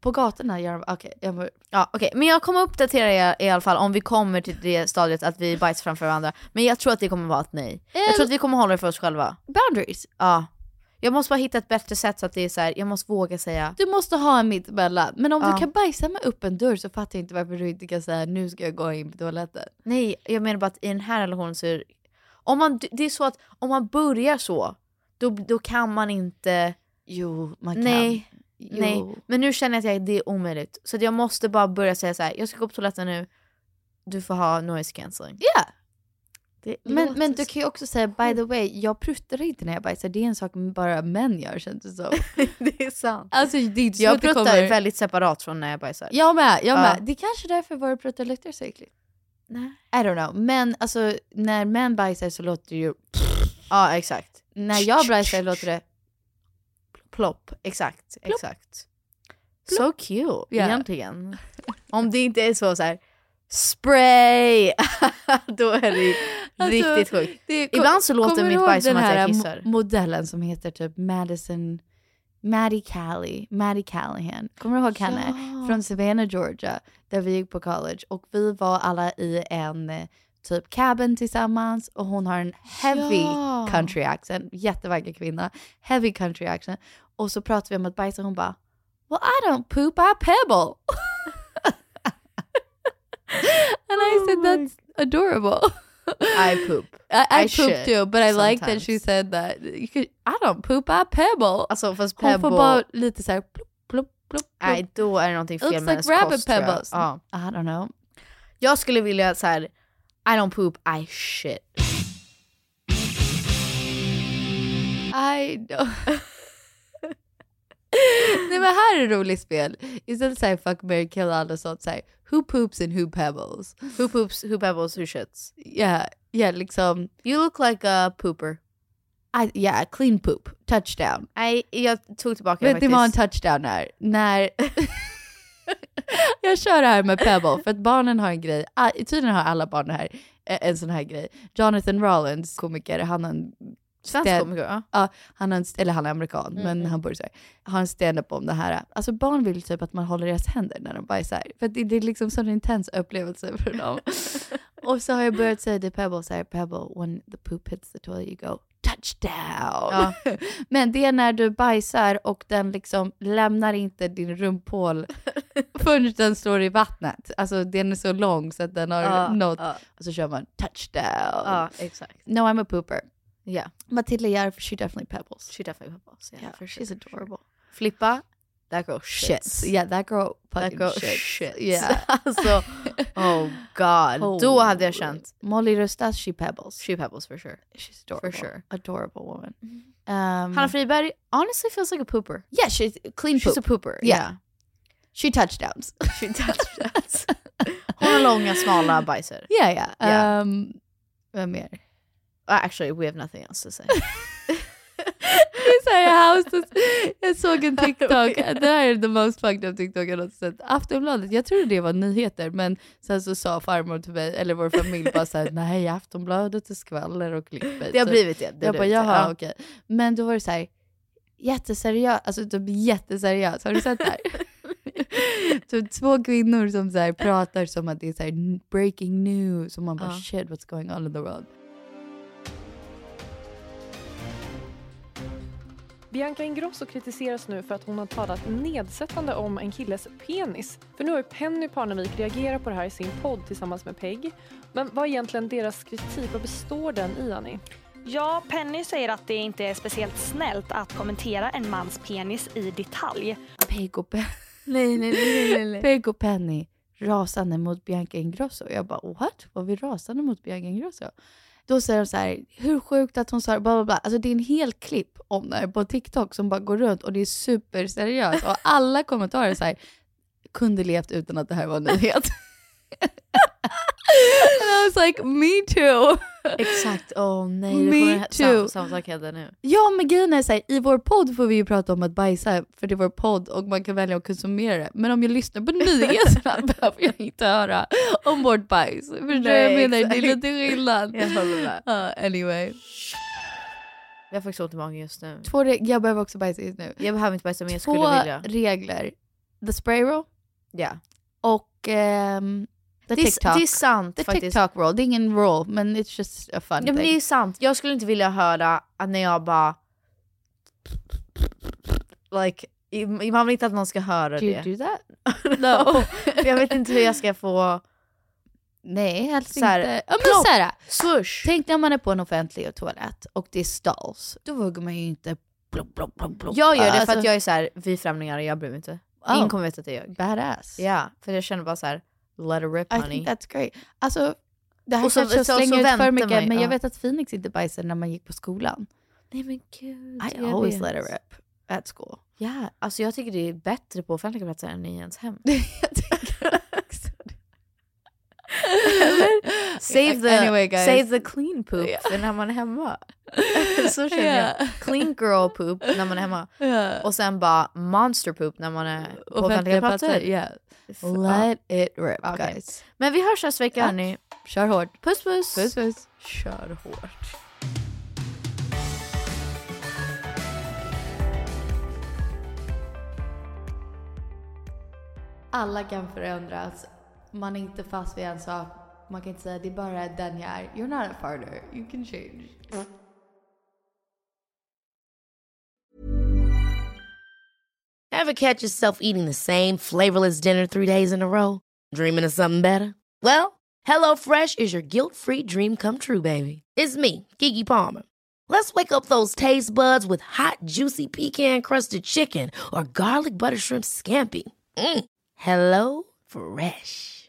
[SPEAKER 3] På gatorna gör de... Okej, jag mår...
[SPEAKER 6] Ja, okej. Men jag kommer uppdatera er i alla fall om vi kommer till det stadiet att vi bajsar framför varandra. Men jag tror att det kommer vara ett nej. Jag tror att vi kommer hålla det för oss själva.
[SPEAKER 3] Eh, Boundaries.
[SPEAKER 6] Ja. Jag måste bara hitta ett bättre sätt så att det är så här, jag måste våga säga.
[SPEAKER 3] Du måste ha en mitt emellan. Men om
[SPEAKER 6] Ja.
[SPEAKER 3] du kan bajsa med öppen dörr så fattar jag inte varför du inte kan säga nu ska jag gå in på toaletten.
[SPEAKER 6] Nej, jag menar bara att i den här relationen så är om man, det är så att om man börjar så, då, då kan man inte...
[SPEAKER 3] Jo, man
[SPEAKER 6] Nej.
[SPEAKER 3] kan.
[SPEAKER 6] Nej, men nu känner jag att jag, det är omöjligt. Så att jag måste bara börja säga så här, jag ska gå på toaletten nu, du får ha noise cancelling.
[SPEAKER 3] Ja!
[SPEAKER 6] Det
[SPEAKER 3] Men,
[SPEAKER 6] låter Mm.
[SPEAKER 3] men du kan ju också säga by the way, jag pruttar inte när jag bajsar. Det är en sak bara män gör känns det som.
[SPEAKER 6] det är sant.
[SPEAKER 3] Alltså det är inte så
[SPEAKER 6] jag
[SPEAKER 3] att det
[SPEAKER 6] pruttar
[SPEAKER 3] kommer...
[SPEAKER 6] väldigt separat från när jag bajsar.
[SPEAKER 3] Jag med, jag
[SPEAKER 6] Ja.
[SPEAKER 3] med. Det är kanske därför våra pruttar luktar så äckligt.
[SPEAKER 6] Nej.
[SPEAKER 3] I don't know. Men alltså när män bajsar så låter det ju...
[SPEAKER 6] Ja, exakt.
[SPEAKER 3] När jag bajsar låter det...
[SPEAKER 6] Plopp, exakt. exakt. So cute,
[SPEAKER 3] Ja.
[SPEAKER 6] egentligen. Om det inte är så så här spray, då är det
[SPEAKER 3] Alltså,
[SPEAKER 6] riktigt sjukt.
[SPEAKER 3] det- kom-
[SPEAKER 6] Ibland så låter
[SPEAKER 3] kommer du
[SPEAKER 6] mitt
[SPEAKER 3] ihåg
[SPEAKER 6] bajs som
[SPEAKER 3] den
[SPEAKER 6] att
[SPEAKER 3] här äh,
[SPEAKER 6] jag
[SPEAKER 3] mo-
[SPEAKER 6] kissar.
[SPEAKER 3] modellen som heter typ Madison... Maddie Callie, Maddie Callahan. Kommer du ihåg henne?
[SPEAKER 6] Ja.
[SPEAKER 3] Från Savannah, Georgia, där vi gick på college. Och vi var alla i en eh, typ cabin tillsammans och hon har en heavy
[SPEAKER 6] Ja.
[SPEAKER 3] country accent, jättevacker kvinna, heavy country accent. Och så pratade vi om att bajsa och hon bara, well I don't poop, I pebble. And I said that's adorable.
[SPEAKER 6] I poop.
[SPEAKER 3] I, I,
[SPEAKER 6] I
[SPEAKER 3] poop
[SPEAKER 6] shit
[SPEAKER 3] too, but I like that she said that. You could- I don't poop, I pebble.
[SPEAKER 6] Alltså fast
[SPEAKER 3] Hon
[SPEAKER 6] pebble-
[SPEAKER 3] får bara lite såhär plopp, plopp, plopp.
[SPEAKER 6] Nej, då är det någonting fel
[SPEAKER 3] Looks
[SPEAKER 6] med
[SPEAKER 3] like
[SPEAKER 6] hennes
[SPEAKER 3] rabbit
[SPEAKER 6] kost tror jag.
[SPEAKER 3] pebbles.
[SPEAKER 6] Ja.
[SPEAKER 3] I don't know.
[SPEAKER 6] Jag Oh. skulle vilja så här, I don't poop, I shit.
[SPEAKER 3] I don't. Nej men här är roligt spel. Istället såhär fuck, marry, kill alla sånt såhär. Who poops and who pebbles?
[SPEAKER 6] Who poops, who pebbles, who shits?
[SPEAKER 3] Yeah, yeah liksom.
[SPEAKER 6] You look like a pooper.
[SPEAKER 3] I, yeah, clean poop. Touchdown.
[SPEAKER 6] Nej, jag tog tillbaka det
[SPEAKER 3] Vet ni vad en
[SPEAKER 6] faktiskt.
[SPEAKER 3] touchdown är? När... jag kör det här med Pebble, för att barnen har en grej, ah, tydligen har alla barn det här, eh, en sån här grej. Jonathan Rollins, komiker, han har en...
[SPEAKER 6] Svensk
[SPEAKER 3] stand-
[SPEAKER 6] komiker, ja.
[SPEAKER 3] Ja, han har en, eller han är amerikan,
[SPEAKER 6] Mm,
[SPEAKER 3] men
[SPEAKER 6] mm.
[SPEAKER 3] han bor så här. Har en stand-up om det här. Alltså barn vill typ att man håller deras händer när de bajsar. För att det, det är liksom sån intens upplevelse för dem. Och så har jag börjat säga till Pebble så här, Pebble, when the poop hits the toilet you go touchdown. Men det är när du bajsar och den liksom lämnar inte din rumphål förrän den står i vattnet. Alltså den är så lång så att den har
[SPEAKER 6] Ja,
[SPEAKER 3] nått.
[SPEAKER 6] ja.
[SPEAKER 3] Och så kör man touchdown.
[SPEAKER 6] Ja, exakt.
[SPEAKER 3] No I'm a pooper.
[SPEAKER 6] Yeah.
[SPEAKER 3] Matilda Järf, she definitely pebbles.
[SPEAKER 6] She definitely pebbles. Yeah, for sure.
[SPEAKER 3] she's adorable.
[SPEAKER 6] Flippa, that girl shits.
[SPEAKER 3] Shits. Yeah, that girl fucking
[SPEAKER 6] girl
[SPEAKER 3] shits.
[SPEAKER 6] shits.
[SPEAKER 3] Yeah.
[SPEAKER 6] Alltså, oh god. Då hade jag känt.
[SPEAKER 3] Molly Rustas, she pebbles.
[SPEAKER 6] She pebbles for sure.
[SPEAKER 3] She's adorable.
[SPEAKER 6] For sure.
[SPEAKER 3] Adorable woman. Um,
[SPEAKER 6] Hanna Friberg honestly feels like a pooper.
[SPEAKER 3] Yeah, she's clean
[SPEAKER 6] She's
[SPEAKER 3] poop.
[SPEAKER 6] a pooper.
[SPEAKER 3] Yeah.
[SPEAKER 6] yeah.
[SPEAKER 3] She touchdowns.
[SPEAKER 6] She touchdowns. Hon har långa, smala bajser.
[SPEAKER 3] yeah, yeah.
[SPEAKER 6] Yeah.
[SPEAKER 3] Um, vem mer?
[SPEAKER 6] Uh, Actually, we have nothing else to say.
[SPEAKER 3] Det är så här, house does- Jag såg en TikTok, det här är the most fucked up TikTok jag någonsin sett. Aftonbladet, jag trodde det var nyheter men sen så sa farmor till mig, eller vår familj bara såhär, nej Aftonbladet är skvaller och clickbait.
[SPEAKER 6] Det har blivit det, det har
[SPEAKER 3] jag bara,
[SPEAKER 6] blivit det,
[SPEAKER 3] jaha
[SPEAKER 6] ja.
[SPEAKER 3] okej. Men då var det så här, jätteseriöst, alltså typ jätteseriöst, har du sett det här? typ två kvinnor som så här pratar som att det är så här breaking news och man bara
[SPEAKER 6] Ja.
[SPEAKER 3] shit what's going on in the world.
[SPEAKER 12] Bianca Ingrosso kritiseras nu för att hon har talat nedsättande om en killes penis. För nu har ju Penny Parnevik reagerat på det här i sin podd tillsammans med Peg. Men vad är egentligen deras kritik? Vad består den i, Annie?
[SPEAKER 13] Ja, Penny säger att det inte är speciellt snällt att kommentera en mans penis i detalj.
[SPEAKER 3] Peg och Penny.
[SPEAKER 6] nej, nej, nej, nej, nej.
[SPEAKER 3] Peg och Penny rasande mot Bianca Ingrosso. Jag bara what? Var vi rasande mot Bianca Ingrosso? Då säger de så här, hur sjukt att hon sa det, bla bla bla. Alltså det är en hel klipp om det här på TikTok som bara går runt och det är superseriöst. Och alla kommentarer är så här, kunde levt utan att det här var en nyhet. And I was like, me too.
[SPEAKER 6] Exakt, åh oh, nej.
[SPEAKER 3] Me
[SPEAKER 6] det kommer- sam-
[SPEAKER 3] too.
[SPEAKER 6] Samma sak hände nu.
[SPEAKER 3] Ja men grejen är så här, i vår podd får vi ju prata om att bajsa för det är vår podd och man kan välja att konsumera det. Men om jag lyssnar på nyheterna behöver jag inte höra om vårt bajs. Förstår du vad jag
[SPEAKER 6] Nej,
[SPEAKER 3] menar? Det är
[SPEAKER 6] exakt.
[SPEAKER 3] lite skillnad.
[SPEAKER 6] Jag håller med.
[SPEAKER 3] Ja, anyway.
[SPEAKER 1] Jag har faktiskt ont i magen just nu.
[SPEAKER 6] Två re- jag behöver också bajsa just nu.
[SPEAKER 1] Jag behöver inte bajsa men jag
[SPEAKER 6] Två
[SPEAKER 1] skulle vilja.
[SPEAKER 6] regler. The spray roll
[SPEAKER 1] Ja.
[SPEAKER 6] och ehm,
[SPEAKER 1] The
[SPEAKER 6] det är-
[SPEAKER 1] TikTok.
[SPEAKER 6] Det är sant
[SPEAKER 1] The
[SPEAKER 6] faktiskt.
[SPEAKER 1] TikTok
[SPEAKER 6] roll. Det är ingen roll men it's just a fun
[SPEAKER 1] Ja, men det är sant. Jag skulle inte vilja höra att när jag bara... Like, i- man vill inte att någon ska höra
[SPEAKER 6] Do you
[SPEAKER 1] det.
[SPEAKER 6] do that?
[SPEAKER 1] No. jag vet inte hur jag ska få...
[SPEAKER 6] Nej, helst
[SPEAKER 1] Såhär,
[SPEAKER 6] inte. Ja, men
[SPEAKER 1] plopp,
[SPEAKER 6] så här, Tänk när man är på en offentlig toalett och det är stalls. Då vågar man ju inte plopp, plopp, plopp, plopp.
[SPEAKER 1] Jag gör det för
[SPEAKER 6] Alltså,
[SPEAKER 1] att jag är så här, vi är främlingar och jag bryr mig inte.
[SPEAKER 6] Oh.
[SPEAKER 1] Ingen kommer veta att det är jag.
[SPEAKER 6] Badass.
[SPEAKER 1] Ja, för jag känner bara så här, let it rip
[SPEAKER 6] I
[SPEAKER 1] honey.
[SPEAKER 6] think that's great. Alltså, det här
[SPEAKER 1] Och så-
[SPEAKER 6] kanske jag
[SPEAKER 1] så- så
[SPEAKER 6] slänger ut
[SPEAKER 1] väntar
[SPEAKER 6] för mycket,
[SPEAKER 1] man-
[SPEAKER 6] men
[SPEAKER 1] ja.
[SPEAKER 6] jag vet att Phoenix inte bajsade när man gick på skolan.
[SPEAKER 1] Nej men gud.
[SPEAKER 6] I always let it rip at school.
[SPEAKER 1] Ja, alltså jag tycker det är bättre på offentliga platser än i ens hem. Eller? Save the,
[SPEAKER 6] Anyway, guys.
[SPEAKER 1] save the clean poop för när man är hemma. Så känner
[SPEAKER 6] Ja.
[SPEAKER 1] jag. Clean girl poop när man är hemma.
[SPEAKER 6] Ja.
[SPEAKER 1] Och sen bara monster poop när man är på offentliga platser.
[SPEAKER 6] yeah.
[SPEAKER 1] F-
[SPEAKER 6] Let
[SPEAKER 1] ja.
[SPEAKER 6] it rip
[SPEAKER 1] Okej.
[SPEAKER 6] guys.
[SPEAKER 1] Men vi hörs nästa vecka
[SPEAKER 6] Ja.
[SPEAKER 1] hörni.
[SPEAKER 6] Kör hårt.
[SPEAKER 1] Puss puss.
[SPEAKER 6] Puss, puss.
[SPEAKER 1] Kör hårt.
[SPEAKER 6] Alla kan förändras. Man är inte fast vid en sak. Man kan inte säga det är bara den jag är. You're not a farter. You can change.
[SPEAKER 3] Ever catch yourself eating the same flavorless dinner three days in a row? Dreaming of something better? Well, HelloFresh is your guilt free dream come true, baby. It's me, Gigi Palmer. Let's wake up those taste buds with hot, juicy pecan crusted chicken or garlic butter shrimp scampi. Mm. Hello Fresh.